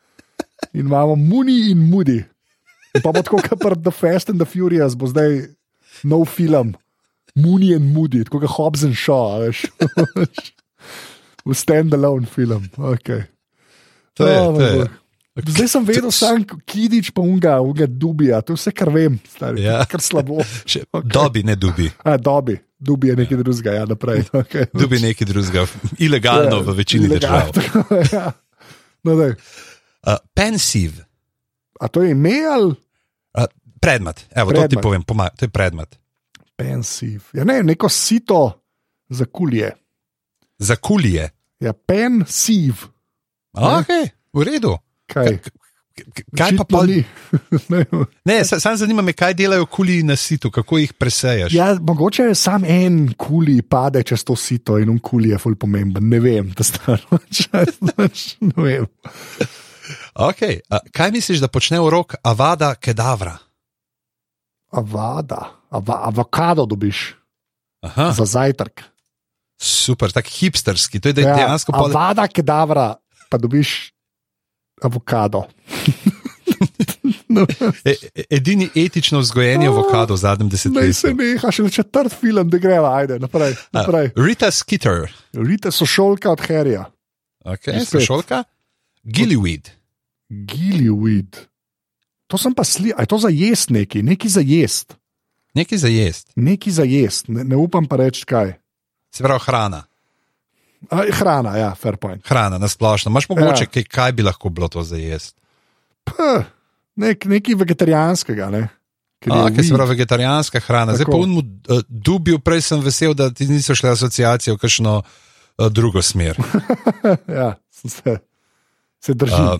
[SPEAKER 2] in imamo Muni in Mudi. In pa bo tako kot pri The Fast and the Furious, bo zdaj nov film, Muni in Mudi, tako kot Hobbs and Shaw, a veš. V stand-alone film. Okay.
[SPEAKER 1] to je,
[SPEAKER 2] Oh,
[SPEAKER 1] to je.
[SPEAKER 2] moj bog. Zdaj sem vedel, sam Kidič pa unga, unga dubija, to je vse, kar vem, stari,
[SPEAKER 1] Ja.
[SPEAKER 2] ja. kar slabo.
[SPEAKER 1] Še, okay.
[SPEAKER 2] Okej.
[SPEAKER 1] Dobi, ne dubi,
[SPEAKER 2] A, dobi, dubi je nekaj drugega, ja, naprej. Okay.
[SPEAKER 1] dubi nekaj drugega, ilegalno v večini
[SPEAKER 2] Ilegalno,
[SPEAKER 1] držav.
[SPEAKER 2] tako, ja. no, daj.
[SPEAKER 1] Uh, pensiv,
[SPEAKER 2] A to je ime ali
[SPEAKER 1] uh, predmet, evo, predmet. to ti
[SPEAKER 2] Predmet.
[SPEAKER 1] povem, poma, to je predmet.
[SPEAKER 2] pensiv? Ja, ne, neko sito za kulje.
[SPEAKER 1] Za kulije.
[SPEAKER 2] Ja, pensiv.
[SPEAKER 1] Ok, v redu. K-
[SPEAKER 2] Kaj,
[SPEAKER 1] Kaj pa
[SPEAKER 2] Ja. Očitno
[SPEAKER 1] pol?
[SPEAKER 2] ni? Ne no. vem.
[SPEAKER 1] Ne, sa- samo zanima me, kaj delajo kuliji na situ, kako jih presejaš.
[SPEAKER 2] ja, mogoče je sam en kuli pade čez to sito in un kuli je ful pomemben. Ne vem, da staro. ne vem.
[SPEAKER 1] Okay. Uh, kaj misliš, da počne v rok Avada Kedavra?
[SPEAKER 2] avada, Ava, avokado dobiš
[SPEAKER 1] Aha,
[SPEAKER 2] za zajtrk.
[SPEAKER 1] super, tako hipsterski. To je ja, dejansko pol-
[SPEAKER 2] avada, kedavra, pa dobiš avokado. No,
[SPEAKER 1] e, e- edini etično vzgojeni avokado v zadnjem
[SPEAKER 2] Naj se
[SPEAKER 1] desetletju.
[SPEAKER 2] neha, še četrt film, da greva, ajde, naprej.
[SPEAKER 1] A,
[SPEAKER 2] naprej.
[SPEAKER 1] Rita Skeeter,
[SPEAKER 2] Rite so šolka Ah. od Harryja,
[SPEAKER 1] okay,
[SPEAKER 2] Spet.
[SPEAKER 1] sošolka, Gillyweed.
[SPEAKER 2] giliwid. To sem pa slišal, je to za jesti neki, neki za jesti,
[SPEAKER 1] Nekaj za jesti,
[SPEAKER 2] neki za jesti, ne, ne upam pa reči kaj.
[SPEAKER 1] se pravi hrana.
[SPEAKER 2] A, hrana, ja, fair point.
[SPEAKER 1] Hrana na splošno. Máš mogoče, ja.
[SPEAKER 2] Ja.
[SPEAKER 1] kaj, kaj bi lahko bilo to za jesti?
[SPEAKER 2] P, nek, nekaj vegetarijanskega, ne? Ker je
[SPEAKER 1] A, Kaj se
[SPEAKER 2] weed.
[SPEAKER 1] pravi vegetarijanska hrana. Zdaj pa
[SPEAKER 2] Tako.
[SPEAKER 1] unmu dubju, prej sem vesel, da ti niso šle asociacije v kakšno eh, drugo smer.
[SPEAKER 2] ja, sem se, se držim.
[SPEAKER 1] A,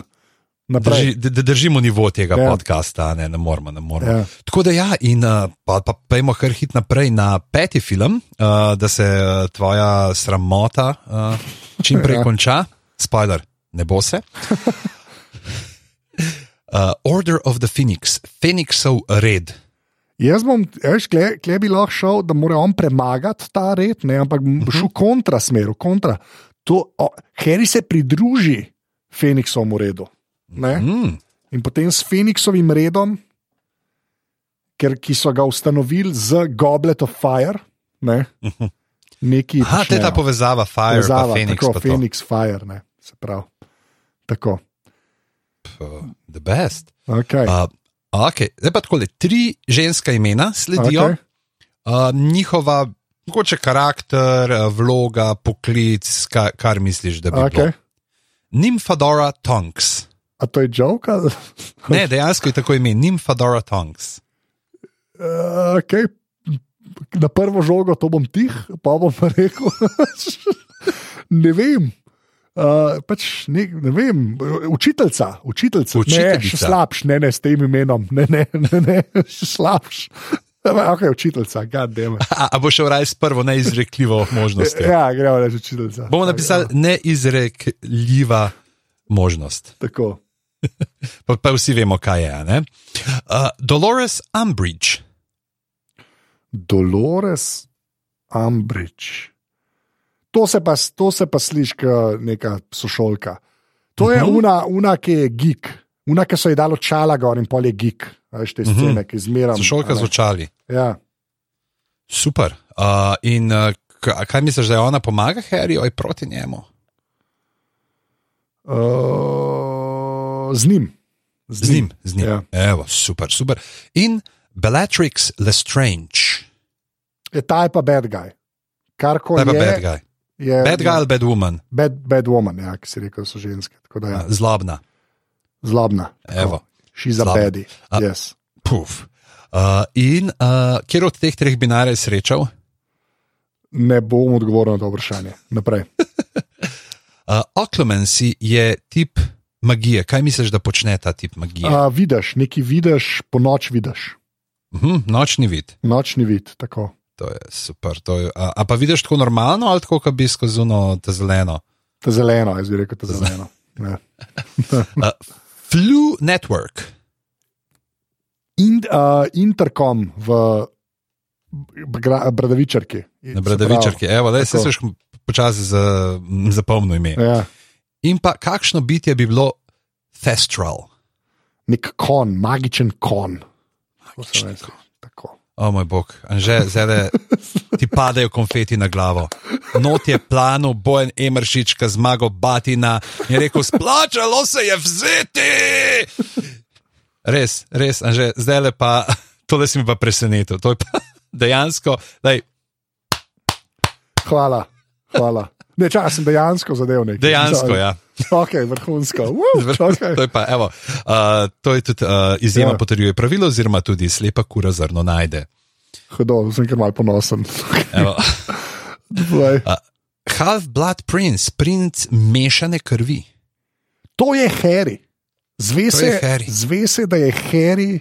[SPEAKER 2] Uh, Naprej.
[SPEAKER 1] Drži, da- da držimo nivo tega
[SPEAKER 2] Ja.
[SPEAKER 1] ja. podcasta, a ne, ne moramo. Ne moramo.
[SPEAKER 2] Ja.
[SPEAKER 1] Ja. Tako da ja, in eh, pa, pa pojmo kar hit naprej na peti film, uh, da se eh, tvoja sramota uh, čim prej
[SPEAKER 2] Ja.
[SPEAKER 1] ja. konča. Spoiler, ne bo se. Uh, Order of the Phoenix, Phoenixov red.
[SPEAKER 2] Jaz bom, veš, kle, kle bi lahko šel, da mora on premagati ta red, ne, ampak bom
[SPEAKER 1] Mhm.
[SPEAKER 2] šel v kontrasmeru, kontra. To, o, Harry se pridruži Feniksovom redu. Ne?
[SPEAKER 1] Mm,
[SPEAKER 2] In potem s Feniksovim redom, ker, ki so ga ustanovili z Goblet of Fire, ne,
[SPEAKER 1] Mhm.
[SPEAKER 2] neki.
[SPEAKER 1] aha, to je ta
[SPEAKER 2] počnejo.
[SPEAKER 1] povezava Fire in
[SPEAKER 2] Ja. Povezava,
[SPEAKER 1] Phoenix.
[SPEAKER 2] tako,
[SPEAKER 1] pa eh, to.
[SPEAKER 2] Phoenix Fire, ne, se pravi. Tako,
[SPEAKER 1] Pff, The best.
[SPEAKER 2] okay.
[SPEAKER 1] Uh, okay. Zdaj pa tako le tri ženska imena sledijo.
[SPEAKER 2] okay.
[SPEAKER 1] Okay. Uh, njihova, mogoče karakter, eh, vloga, poklic, ka, kar misliš, da bi okay. bilo.
[SPEAKER 2] Okay.
[SPEAKER 1] Nimfadora Tonks.
[SPEAKER 2] A to je joke ali?
[SPEAKER 1] Ne, dejansko je tako ime, Nimfadora Tonks.
[SPEAKER 2] Uh, okay. Na prvo žogo to bom tih, pa bom pa rekel. ne vem. Uh, pač ne, ne vem, učiteljica, učiteljica, ne,
[SPEAKER 1] Učiteljica.
[SPEAKER 2] še slabš, ne, ne, s tem imenom, ne, ne, ne, ne še slabš. Ok, učiteljica, gadem.
[SPEAKER 1] A, a bo šel raj s prvo neizrekljivo možnostjo.
[SPEAKER 2] Ja, gremo reči učiteljica.
[SPEAKER 1] Bomo
[SPEAKER 2] Ja.
[SPEAKER 1] napisali neizrekljiva možnost.
[SPEAKER 2] Tako.
[SPEAKER 1] Pa, pa vsi vemo, kaj je. a ne? Uh, Dolores Umbridge.
[SPEAKER 2] Dolores Umbridge. To se pa, to se pa sliši kot neka sošolka. To je
[SPEAKER 1] Mhm.
[SPEAKER 2] una, una, ki je gig, una, ki so ji dalo čala gor in pol je gig. Veš te
[SPEAKER 1] Mhm.
[SPEAKER 2] scene, ki zmeraj.
[SPEAKER 1] Sošolka z očali.
[SPEAKER 2] Ja.
[SPEAKER 1] Super. Uh, in uh, k- kaj misliš, da je ona pomaga Harryju ali proti njemu?
[SPEAKER 2] Uh, z njim.
[SPEAKER 1] Z njim, z njim.
[SPEAKER 2] Ja.
[SPEAKER 1] Ja. Evo, super, super. In Bellatrix Lestrange,
[SPEAKER 2] E, ta je pa bad guy. Kar
[SPEAKER 1] kaj
[SPEAKER 2] koli
[SPEAKER 1] pa
[SPEAKER 2] je.
[SPEAKER 1] bad guy.
[SPEAKER 2] je
[SPEAKER 1] Bad guy ali bad woman,
[SPEAKER 2] Bad, bad woman, ja, ki si rekel, da so ženske. Tako da ja,
[SPEAKER 1] zlobna.
[SPEAKER 2] zlobna.
[SPEAKER 1] Evo.
[SPEAKER 2] She's a
[SPEAKER 1] Zlobna.
[SPEAKER 2] bedi.
[SPEAKER 1] A-
[SPEAKER 2] Yes.
[SPEAKER 1] Puf. Uh, in uh, kjer od teh treh bi najraje srečal? Uh,
[SPEAKER 2] Ne bom odgovoril na to vprašanje. Naprej.
[SPEAKER 1] Uh, Oklumensi je tip magije. Kaj misliš, da počne ta tip magije? Uh,
[SPEAKER 2] A, vidiš, neki vidiš, po noč vidiš,
[SPEAKER 1] hm, nočni vid.
[SPEAKER 2] nočni vid. Tako.
[SPEAKER 1] To je super. To je, a, a pa vidiš tako normalno ali tako, kot bi skozi ono ta zeleno?
[SPEAKER 2] Ta zeleno, jaz bi rekel, ta zeleno. Ja. Ne.
[SPEAKER 1] Uh, Flu Network.
[SPEAKER 2] In, uh, interkom v Gra- Bradavičarki.
[SPEAKER 1] Na Bradavičarki, evo, le se
[SPEAKER 2] Tako.
[SPEAKER 1] veš, počasi za- m, zapomnil ime.
[SPEAKER 2] Ja,
[SPEAKER 1] In pa kakšno bitje bi bilo Thestral?
[SPEAKER 2] nek kon, magičen kon. Tako se
[SPEAKER 1] Magični
[SPEAKER 2] reče. Tako.
[SPEAKER 1] O moj bog, Anže, zdaj ti padajo konfeti na glavo. Not je plano, bojen Emeršič, ki zmago Batina in je rekel: Splačalo se je vzeti! Res, res, Anže, zdaj le pa, tole si mi pa presenetil. To je pa dejansko, daj,
[SPEAKER 2] Hvala, hvala. Ne, čas sem dejansko zadev nekaj.
[SPEAKER 1] dejansko, ja.
[SPEAKER 2] Ok, vrhunsko. Woo, okay.
[SPEAKER 1] To je, pa, evo, uh, to je tudi uh, izjema,
[SPEAKER 2] Ja.
[SPEAKER 1] ja. potrjuje pravilo, oziroma tudi slepa kura zrno najde.
[SPEAKER 2] Hudo, sem kar mal ponosen.
[SPEAKER 1] Evo.
[SPEAKER 2] Dvaj.
[SPEAKER 1] Half-Blood Prince, princ mešane krvi.
[SPEAKER 2] To je Harry. Zve
[SPEAKER 1] To
[SPEAKER 2] se,
[SPEAKER 1] je Harry.
[SPEAKER 2] zve se, da je Harry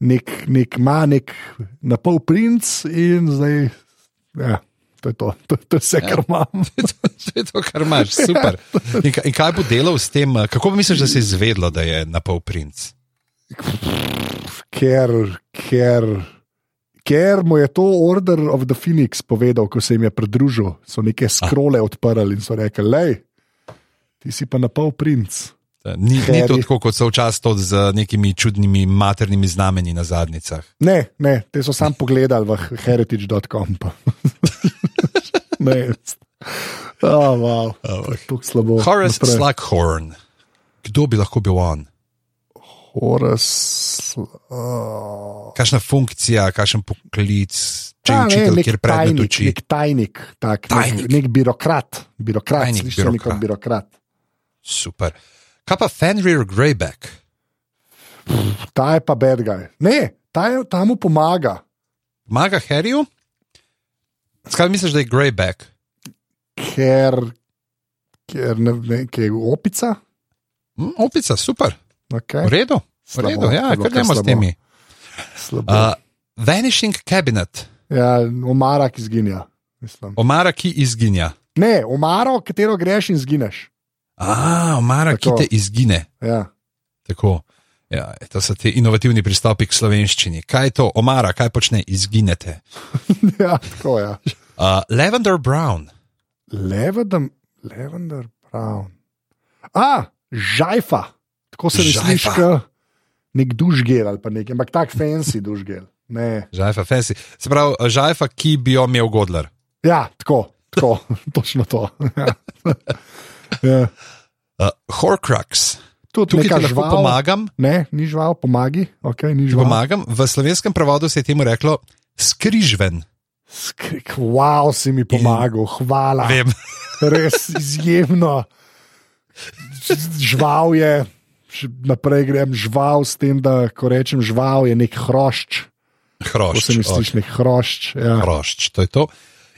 [SPEAKER 2] nek, nek ma, nek napol princ in zdaj. Ja, to je to, to, to je vse, ja. kar imam.
[SPEAKER 1] to je to, kar imaš, super. In, ka- in kaj bo delal s tem, eh, kako pa misliš, da se je izvedlo, da je napol princ?
[SPEAKER 2] ker, ker, ker mu je to Order of the Phoenix povedal, ko se jim je pridružil. So neke skrole odprli in so rekli, lej, ti si pa na pol princ.
[SPEAKER 1] Eh, Ni, ni to
[SPEAKER 2] Harry.
[SPEAKER 1] tako, kot so včasih to z nekimi čudnimi maternimi znameni na zadnicah.
[SPEAKER 2] Ne, ne, te so sam pogledali v heritage.com. pa. ne. Oh, wow. To je tako slabo.
[SPEAKER 1] Horace
[SPEAKER 2] Ja, Naprej.
[SPEAKER 1] Slughorn. Kdo bi lahko bil on?
[SPEAKER 2] Horace. Oh.
[SPEAKER 1] Kakšna funkcija, kakšen poklic, če je
[SPEAKER 2] Ta, Ja, ne,
[SPEAKER 1] učitelj,
[SPEAKER 2] nek
[SPEAKER 1] kjer predmet
[SPEAKER 2] tajnik,
[SPEAKER 1] uči.
[SPEAKER 2] Nek tajnik, tak,
[SPEAKER 1] Tajnik.
[SPEAKER 2] Nek, nek birokrat, birokrat,
[SPEAKER 1] Tajnik,
[SPEAKER 2] slišiš birokrat.
[SPEAKER 1] birokrat.
[SPEAKER 2] Kot birokrat.
[SPEAKER 1] Super. Kaj pa Fenrir Greyback?
[SPEAKER 2] Ta je pa bad guy. Ne, ta, je, ta mu pomaga.
[SPEAKER 1] Maga Harryju? Skaj misliš, da je Greyback?
[SPEAKER 2] ker, ker ne vem, kje je opica.
[SPEAKER 1] Hm, opica, super,
[SPEAKER 2] Okay.
[SPEAKER 1] v redu. V
[SPEAKER 2] Slabo,
[SPEAKER 1] redu, ja,
[SPEAKER 2] to je bilo
[SPEAKER 1] kar
[SPEAKER 2] kar
[SPEAKER 1] gremo s
[SPEAKER 2] slabo.
[SPEAKER 1] temi.
[SPEAKER 2] Slabo.
[SPEAKER 1] Uh, Vanishing Cabinet,
[SPEAKER 2] Ja, omara, ki zginja. Mislim.
[SPEAKER 1] omara, ki izginja.
[SPEAKER 2] Ne, omaro, v katero greš in zgineš.
[SPEAKER 1] A, omara,
[SPEAKER 2] Tako.
[SPEAKER 1] ki te izgine.
[SPEAKER 2] Ja.
[SPEAKER 1] Tako. Ja, to so ti inovativni pristopi k slovenščini. Kaj je to, omara, kaj počne, izginete.
[SPEAKER 2] ja, tako je. Ja.
[SPEAKER 1] Uh, Lavender Brown,
[SPEAKER 2] Levendar, Levendar Brown. A, žajfa, tako se
[SPEAKER 1] Žajfa.
[SPEAKER 2] misliš, kot nek dušgel ali pa nekaj, ampak tak fancy dušgel. Ne.
[SPEAKER 1] žajfa, fancy. Se pravi, uh, žajfa, ki bi jo imel Godler.
[SPEAKER 2] Ja, tako, tako točno to. Ja. ja.
[SPEAKER 1] Uh, Horcrux,
[SPEAKER 2] Tudi
[SPEAKER 1] tukaj
[SPEAKER 2] neka
[SPEAKER 1] ti lahko
[SPEAKER 2] žival.
[SPEAKER 1] pomagam,
[SPEAKER 2] Ne, ni žival, pomagi. Okay, ni
[SPEAKER 1] ti
[SPEAKER 2] žival.
[SPEAKER 1] pomagam. V slovenskem prevodu se je temu reklo skrižven.
[SPEAKER 2] Skrik, wow, si mi pomagal, hvala.
[SPEAKER 1] Vem,
[SPEAKER 2] Res izjemno. Ž- Žval je, š- naprej grem žval, s tem, da ko rečem žval, je nek hrošč. Ko
[SPEAKER 1] hrošč.
[SPEAKER 2] se misliš, nek hrošč. Ja.
[SPEAKER 1] Hrošč, to je to.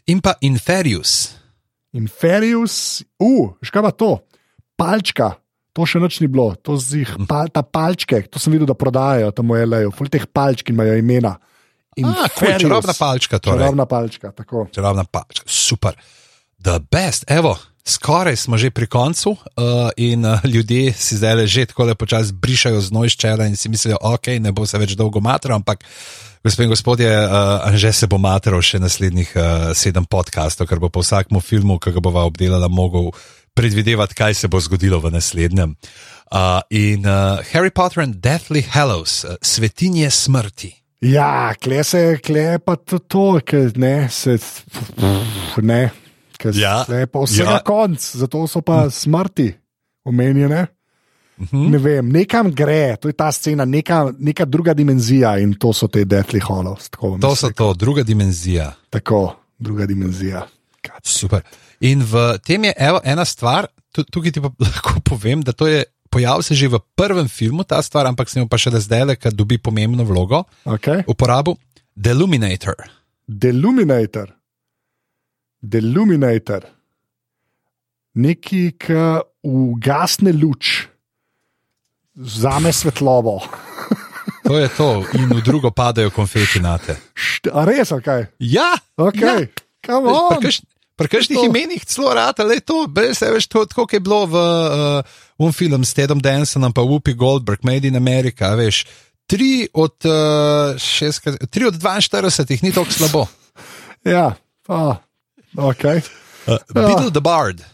[SPEAKER 1] In pa Inferius,
[SPEAKER 2] Inferius, uh, škaj pa to, palčka. To še noč ni bilo, to zih,
[SPEAKER 1] Hm.
[SPEAKER 2] pa, ta palčke, to sem videl, da prodajajo tam v L.A.U., ful teh palčk imajo imena.
[SPEAKER 1] Ah, cool,
[SPEAKER 2] Inferius.
[SPEAKER 1] čarobna palčka. Torej.
[SPEAKER 2] Čarobna palčka, tako.
[SPEAKER 1] čarobna pačka, super. The best, evo, skoraj smo že pri koncu uh, in uh, ljudje si zdaj le že tako lepo čas brišajo znoj iz čela in si mislijo, ok, ne bo se več dolgo matral, ampak gospod in gospodje, uh, Anže se bo matral še naslednjih uh, sedem podkastov, ker bo po vsakem filmu, ki ga bova obdelala, mogel predvidevati, kaj se bo zgodilo v naslednjem. Uh, in uh, Harry Potter and Deathly Hallows, uh, svetinje smrti.
[SPEAKER 2] Ja, kle se, kle pa to, to ker ne, se, ne, ker
[SPEAKER 1] Ja,
[SPEAKER 2] se pa
[SPEAKER 1] ja.
[SPEAKER 2] vsega ja. konc, zato so pa smrti omenjene.
[SPEAKER 1] Mhm.
[SPEAKER 2] Ne vem, nekam gre, to je ta scena, neka, neka druga dimenzija in to so te Deathly Hollows. Tako, bom
[SPEAKER 1] To so
[SPEAKER 2] jaz rekel.
[SPEAKER 1] to, druga dimenzija.
[SPEAKER 2] tako, druga dimenzija. Kaj,
[SPEAKER 1] Super. In v tem je evo, ena stvar, tu- tukaj ti pa lahko povem, da to je. Pojav se že v prvem filmu ta stvar, ampak se jim pa še zdaj le, ker dobi pomembno vlogo,
[SPEAKER 2] Okay.
[SPEAKER 1] uporabo Deluminator.
[SPEAKER 2] Deluminator, deluminator, neki, ki ugasne luč, vzame svetlobo.
[SPEAKER 1] To je to, in v drugo padajo konfeti na te.
[SPEAKER 2] Št- A res, kaj?
[SPEAKER 1] Ja,
[SPEAKER 2] Okay.
[SPEAKER 1] ja.
[SPEAKER 2] Ja.
[SPEAKER 1] Pri kakšnih
[SPEAKER 2] To.
[SPEAKER 1] imenih celo rata, le to, brez se veš, to, tako kot je bilo v uh, um film s Tedom Dansonom, pa Whoopi Goldberg, Made in America, a veš. Tri od, uh, šest, tri od 42 ni tako slabo.
[SPEAKER 2] ja. A, okay.
[SPEAKER 1] Uh, Beatle the Bard,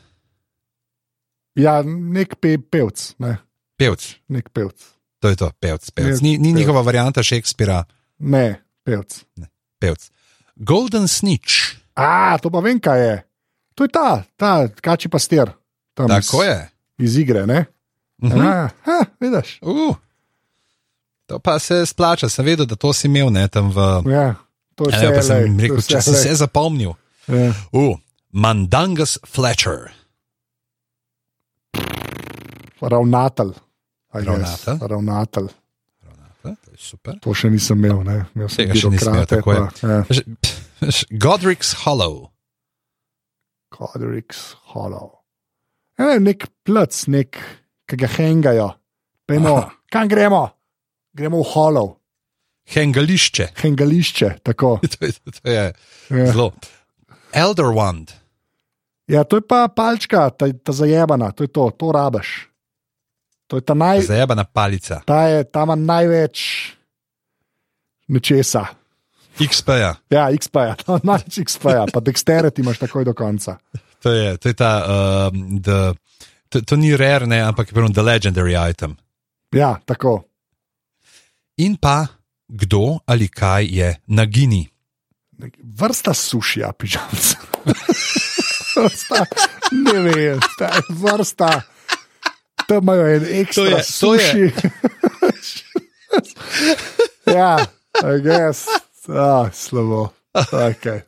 [SPEAKER 2] ja, nek pe, pevc, ne?
[SPEAKER 1] pevc,
[SPEAKER 2] nek pevc.
[SPEAKER 1] to je to, pevc, pevc.
[SPEAKER 2] Pevc,
[SPEAKER 1] Ni, ni
[SPEAKER 2] pevc.
[SPEAKER 1] njihova varianta Shakespeara,
[SPEAKER 2] Ne, pevc.
[SPEAKER 1] pevc. Golden Snitch,
[SPEAKER 2] A, to pa vem, kaj je. To je ta, ta kači pastir. Tam
[SPEAKER 1] tako
[SPEAKER 2] iz,
[SPEAKER 1] je.
[SPEAKER 2] iz igre, ne?
[SPEAKER 1] Uh -huh.
[SPEAKER 2] Ja, ha, vidiš.
[SPEAKER 1] uh, to pa se splača, sem vedel, da to si imel ne tam v.
[SPEAKER 2] Ja, to je
[SPEAKER 1] Evo, pa
[SPEAKER 2] vse.
[SPEAKER 1] sem
[SPEAKER 2] LA,
[SPEAKER 1] rekel,
[SPEAKER 2] to je
[SPEAKER 1] če si
[SPEAKER 2] LA.
[SPEAKER 1] se zapomnil.
[SPEAKER 2] Ja.
[SPEAKER 1] Uh, Mandangas Fletcher,
[SPEAKER 2] Ravnatelj. I guess.
[SPEAKER 1] Ravnatelj.
[SPEAKER 2] Ravnatelj.
[SPEAKER 1] Ravnate, to je super.
[SPEAKER 2] To še nisem imel, ne? Imel sem
[SPEAKER 1] Tega še nisem imel,
[SPEAKER 2] birokrate
[SPEAKER 1] tako je.
[SPEAKER 2] pa, ja.
[SPEAKER 1] Že- pf, veš, Godric's Hollow,
[SPEAKER 2] Codrix Hollow. E, nek plc, nek, ki ga hengajo. Pejmo,
[SPEAKER 1] Aha.
[SPEAKER 2] kam gremo? Gremo v Hollow,
[SPEAKER 1] Hengališče,
[SPEAKER 2] hengališče. tako.
[SPEAKER 1] to je, to je
[SPEAKER 2] Ja.
[SPEAKER 1] zelo. Elder Wand,
[SPEAKER 2] Ja, to je pa palčka, ta, ta zajebana, to je to, to rabaš. To je ta naj,
[SPEAKER 1] Zajebana palica.
[SPEAKER 2] ta je, ta ima največ nečesa.
[SPEAKER 1] XP-ja.
[SPEAKER 2] Ja, XP-ja, ta ima največ XP-ja, pa dexterity imaš takoj do konca.
[SPEAKER 1] To je, to je ta, um, the, to, to ni rare, ne, ampak je pravno the legendary item.
[SPEAKER 2] Ja, tako.
[SPEAKER 1] In pa, kdo ali kaj je nagini.
[SPEAKER 2] Vrsta sušija, pižamca. vrsta, ne vem, ta vrsta. Tam imajo en ekstra
[SPEAKER 1] To je- to je.
[SPEAKER 2] suši. ja, I guess. Ah, slabo. Okay.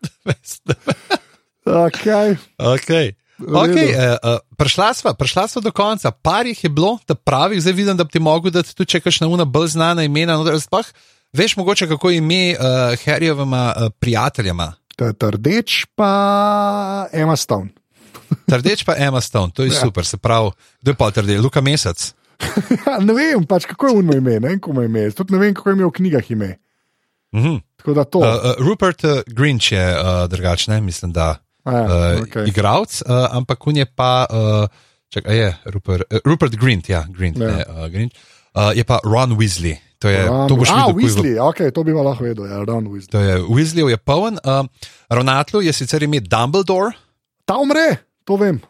[SPEAKER 2] Okay.
[SPEAKER 1] Okay. Okay, eh, eh, prišla, sva, prišla sva do konca, par jih je bilo, ta pravih, zdaj vidim, da bi ti mogel dati tudi če kakšna una bolj znana imena. noter. Sploh veš mogoče, kako je ime uh, Harryjevima uh, prijateljema.
[SPEAKER 2] Ta ta rdeč pa Emma Stone.
[SPEAKER 1] Trdeč pa Emma Stone, to je ja. super, se pravi, kdo je pa trdeč, Luka Mesec.
[SPEAKER 2] Ja, ne vem, pač, kako je unmo ime, ne vem, kako je ime. Tudi ne vem, kako je imel v knjigah ime.
[SPEAKER 1] Mhm.
[SPEAKER 2] Tako da to.
[SPEAKER 1] Uh, uh, Rupert uh, Grinch je uh, drugačen, mislim, da
[SPEAKER 2] A ja,
[SPEAKER 1] uh,
[SPEAKER 2] okej.
[SPEAKER 1] okay. igravc, uh, ampak on je pa, uh, čakaj, a je Rupert, uh, Rupert Grint, ja, Grint,
[SPEAKER 2] Ja.
[SPEAKER 1] ja. Ne, uh, Grinch, uh, je pa Ron Weasley. To, je,
[SPEAKER 2] Ron-
[SPEAKER 1] to boš
[SPEAKER 2] A,
[SPEAKER 1] videl, ko je v-
[SPEAKER 2] Weasley, okay, to bi pa lahko vedel, ja, Ron Weasley.
[SPEAKER 1] To je Weasley, je poln. Uh, Ronatlu je sicer ime Dumbledore,
[SPEAKER 2] Ta umre, to vem.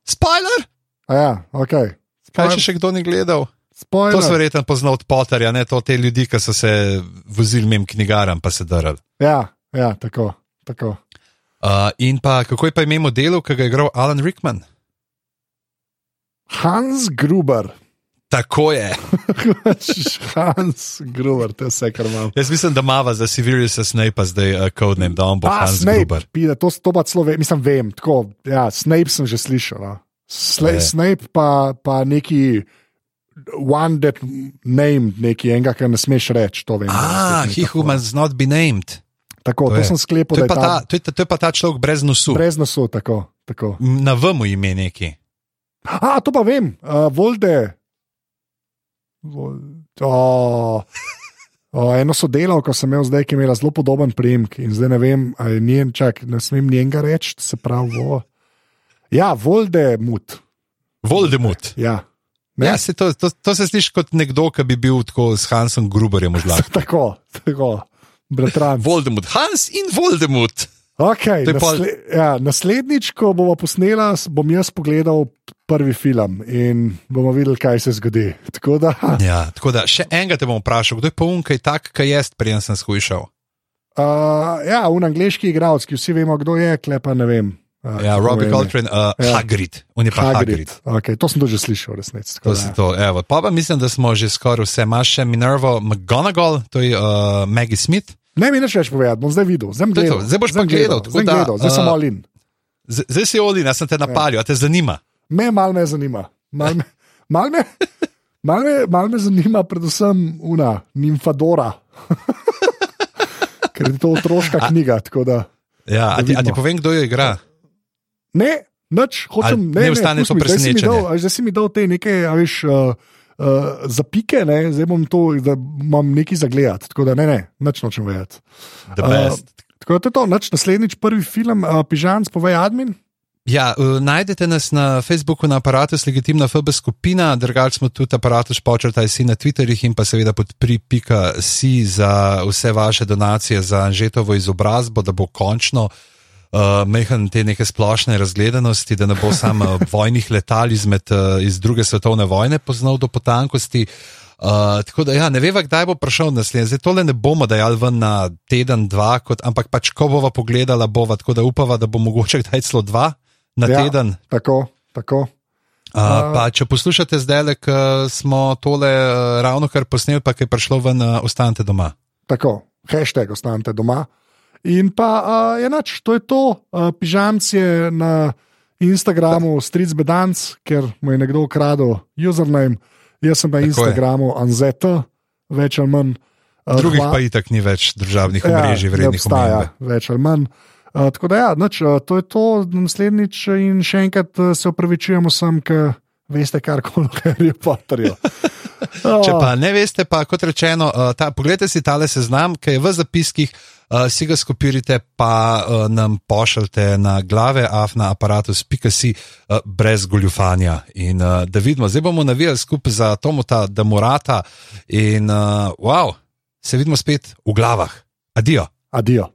[SPEAKER 1] spoiler,
[SPEAKER 2] A ja, ok.
[SPEAKER 1] kaj če še kdo ni gledal. To so
[SPEAKER 2] Spoiler.
[SPEAKER 1] verjetno poznal od Potterja, ne to te ljudi, ki so se vozili mem knjigaram, pa se drali.
[SPEAKER 2] Ja, ja, tako. tako.
[SPEAKER 1] Uh, in pa kako je pa ime modelu, ki ga je igral Alan Rickman?
[SPEAKER 2] Hans Gruber.
[SPEAKER 1] Tako je.
[SPEAKER 2] Hans Gruber, to je vse, kar imam.
[SPEAKER 1] Jaz mislim, da mava za Siriusa Snape zdaj uh, codename, da on bo
[SPEAKER 2] A,
[SPEAKER 1] Hans
[SPEAKER 2] Snape,
[SPEAKER 1] Gruber.
[SPEAKER 2] pide, to, to pa celo vem, mislim, vem, tako, ja, Snape sem že slišal. No. Sle,
[SPEAKER 1] Je.
[SPEAKER 2] Snape pa, pa neki one that name, neki enega, ki ne smeš reči, to vem.
[SPEAKER 1] Ah,
[SPEAKER 2] da je
[SPEAKER 1] he who
[SPEAKER 2] tako.
[SPEAKER 1] must not be named.
[SPEAKER 2] Tako,
[SPEAKER 1] to
[SPEAKER 2] to
[SPEAKER 1] je.
[SPEAKER 2] sem sklepal,
[SPEAKER 1] To
[SPEAKER 2] da
[SPEAKER 1] je
[SPEAKER 2] je
[SPEAKER 1] pa ta,
[SPEAKER 2] ta
[SPEAKER 1] to je, ta- to je pa ta človek brez nosu.
[SPEAKER 2] brez nosu, tako. tako.
[SPEAKER 1] Na V mu ime neki.
[SPEAKER 2] A, to pa vem, uh, Volde. Vol... O, o, eno sodelavko sem imel zdaj, ki je imela zelo podoben primek in zdaj ne vem, ali je njen, čak, ne smem njenega reči, se pravi. Vo... Ja, Volde mut.
[SPEAKER 1] Voldemort.
[SPEAKER 2] Ja. Ne?
[SPEAKER 1] Ja, se to, to, to se sliši kot nekdo, ki bi bil tako s Hansom Gruberjem v žlabi.
[SPEAKER 2] Tako, tako. Bratran.
[SPEAKER 1] Voldemort, Hans in Voldemort.
[SPEAKER 2] Okay,
[SPEAKER 1] To je pol-
[SPEAKER 2] nasle, ja, naslednjič, ko bomo posnela, s- bom jaz pogledal prvi film in bomo videli, kaj se zgodi. Tako da,
[SPEAKER 1] Ja, tako da še enkrat te bom vprašal, kdo je pa unkaj tak, kaj jaz, preden sem skušal.
[SPEAKER 2] Uh, ja, un angliški igralec, ki vsi vemo, kdo je, klepa ne vem. Uh,
[SPEAKER 1] Ja, Robbie Coltrane, uh,
[SPEAKER 2] Ja.
[SPEAKER 1] ja. Hagrid, on je pa Hagrid.
[SPEAKER 2] Hagrid. Okay, to sem tudi že slišal, v resnici.
[SPEAKER 1] To
[SPEAKER 2] tako da,
[SPEAKER 1] si to, evo. Pa pa mislim, da smo že skoraj vse. Imaš še Minervo McGonagall, to je uh, Maggie Smith.
[SPEAKER 2] Ne mi nič več povedati, bom zdaj videl. Zdaj, bom
[SPEAKER 1] To je to,
[SPEAKER 2] gledal,
[SPEAKER 1] zdaj boš pa gledal, tako
[SPEAKER 2] Zdaj, bom
[SPEAKER 1] da,
[SPEAKER 2] gledal, zdaj sem
[SPEAKER 1] eh,
[SPEAKER 2] olin.
[SPEAKER 1] Z zdaj si Olin, jaz sem
[SPEAKER 2] Ja.
[SPEAKER 1] te napalil, a te zanima.
[SPEAKER 2] Me malo me zanima. Mal me, mal me, mal me, mal me zanima predvsem una, Nimfadora. Ker je to otroška knjiga. tako da-
[SPEAKER 1] Ja, a ti, a ti
[SPEAKER 2] Vidimo.
[SPEAKER 1] povem, kdo jo igra?
[SPEAKER 2] Ne, nič, hočem,
[SPEAKER 1] Ali
[SPEAKER 2] ne,
[SPEAKER 1] ne ostane
[SPEAKER 2] pusti
[SPEAKER 1] to
[SPEAKER 2] mi, zdaj si mi
[SPEAKER 1] presenečenje?
[SPEAKER 2] dal- a Zdaj si mi dal te neke, a veš. Uh, Uh, zapike, ne? zdaj bom to, da imam nekaj za gledati. Tako da ne, ne, nič nočem vedeti.
[SPEAKER 1] The
[SPEAKER 2] Eh,
[SPEAKER 1] Best.
[SPEAKER 2] Tako da to je to, nič naslednjič, prvi film, uh, Pižan, povej admin.
[SPEAKER 1] Ja, eh, najdete nas na Facebooku na aparatu, legitimna FB skupina, drugače smo tudi aparatu špočrtaj si na Twitterjih in pa seveda podpri.si za vse vaše donacije za Anžetovo izobrazbo, da bo končno uh, mehan te neke splošne razgledanosti, da ne bo sam eh, vojnih letal izmed, uh, iz druge svetovne vojne poznal do potankosti. Uh, tako da, ja, ne veva, kdaj bo prišel naslednji. Zdaj tole ne bomo dajali ven na teden, dva, kot, ampak pač, ko bova pogledala, bova tako da upava, da bo mogoče kdaj celo dva na
[SPEAKER 2] Ja.
[SPEAKER 1] ja. teden.
[SPEAKER 2] Tako, tako.
[SPEAKER 1] Uh, pa, če poslušate zdaj, ko smo tole eh, ravno kar posneli, pa ki je prišlo ven, eh, ostanite doma.
[SPEAKER 2] Tako, hashtag ostanite doma. In pa uh, je nač, to je to, uh, pižamc je na Instagramu stricbedanc, ker mu je nekdo ukradel username, jaz sem
[SPEAKER 1] Tako
[SPEAKER 2] na
[SPEAKER 1] je.
[SPEAKER 2] Instagramu anzeta, več ali manj. Uh,
[SPEAKER 1] Drugih pa itak ni več državnih omrežij,
[SPEAKER 2] Ja, ne
[SPEAKER 1] vrednih
[SPEAKER 2] obstaja,
[SPEAKER 1] omrežij.
[SPEAKER 2] več ali manj. Uh, tako da, ja, nač, uh, to je to, naslednjič in še enkrat uh, se opravičujemo, sem, ker veste, kar koli o Harryju Potterju.
[SPEAKER 1] Če pa ne veste, pa kot rečeno, uh, ta, pogledajte si tale seznam, ki je v zapiskih, uh, si ga skopirite, pa uh, nam pošljite na glave, afna aparatus.si, uh, brez goljufanja. In uh, da vidimo, zdaj bomo navijali skupaj za Tomota, da e, morata in uh, wow, se vidimo spet v glavah. Adijo.
[SPEAKER 2] Adijo.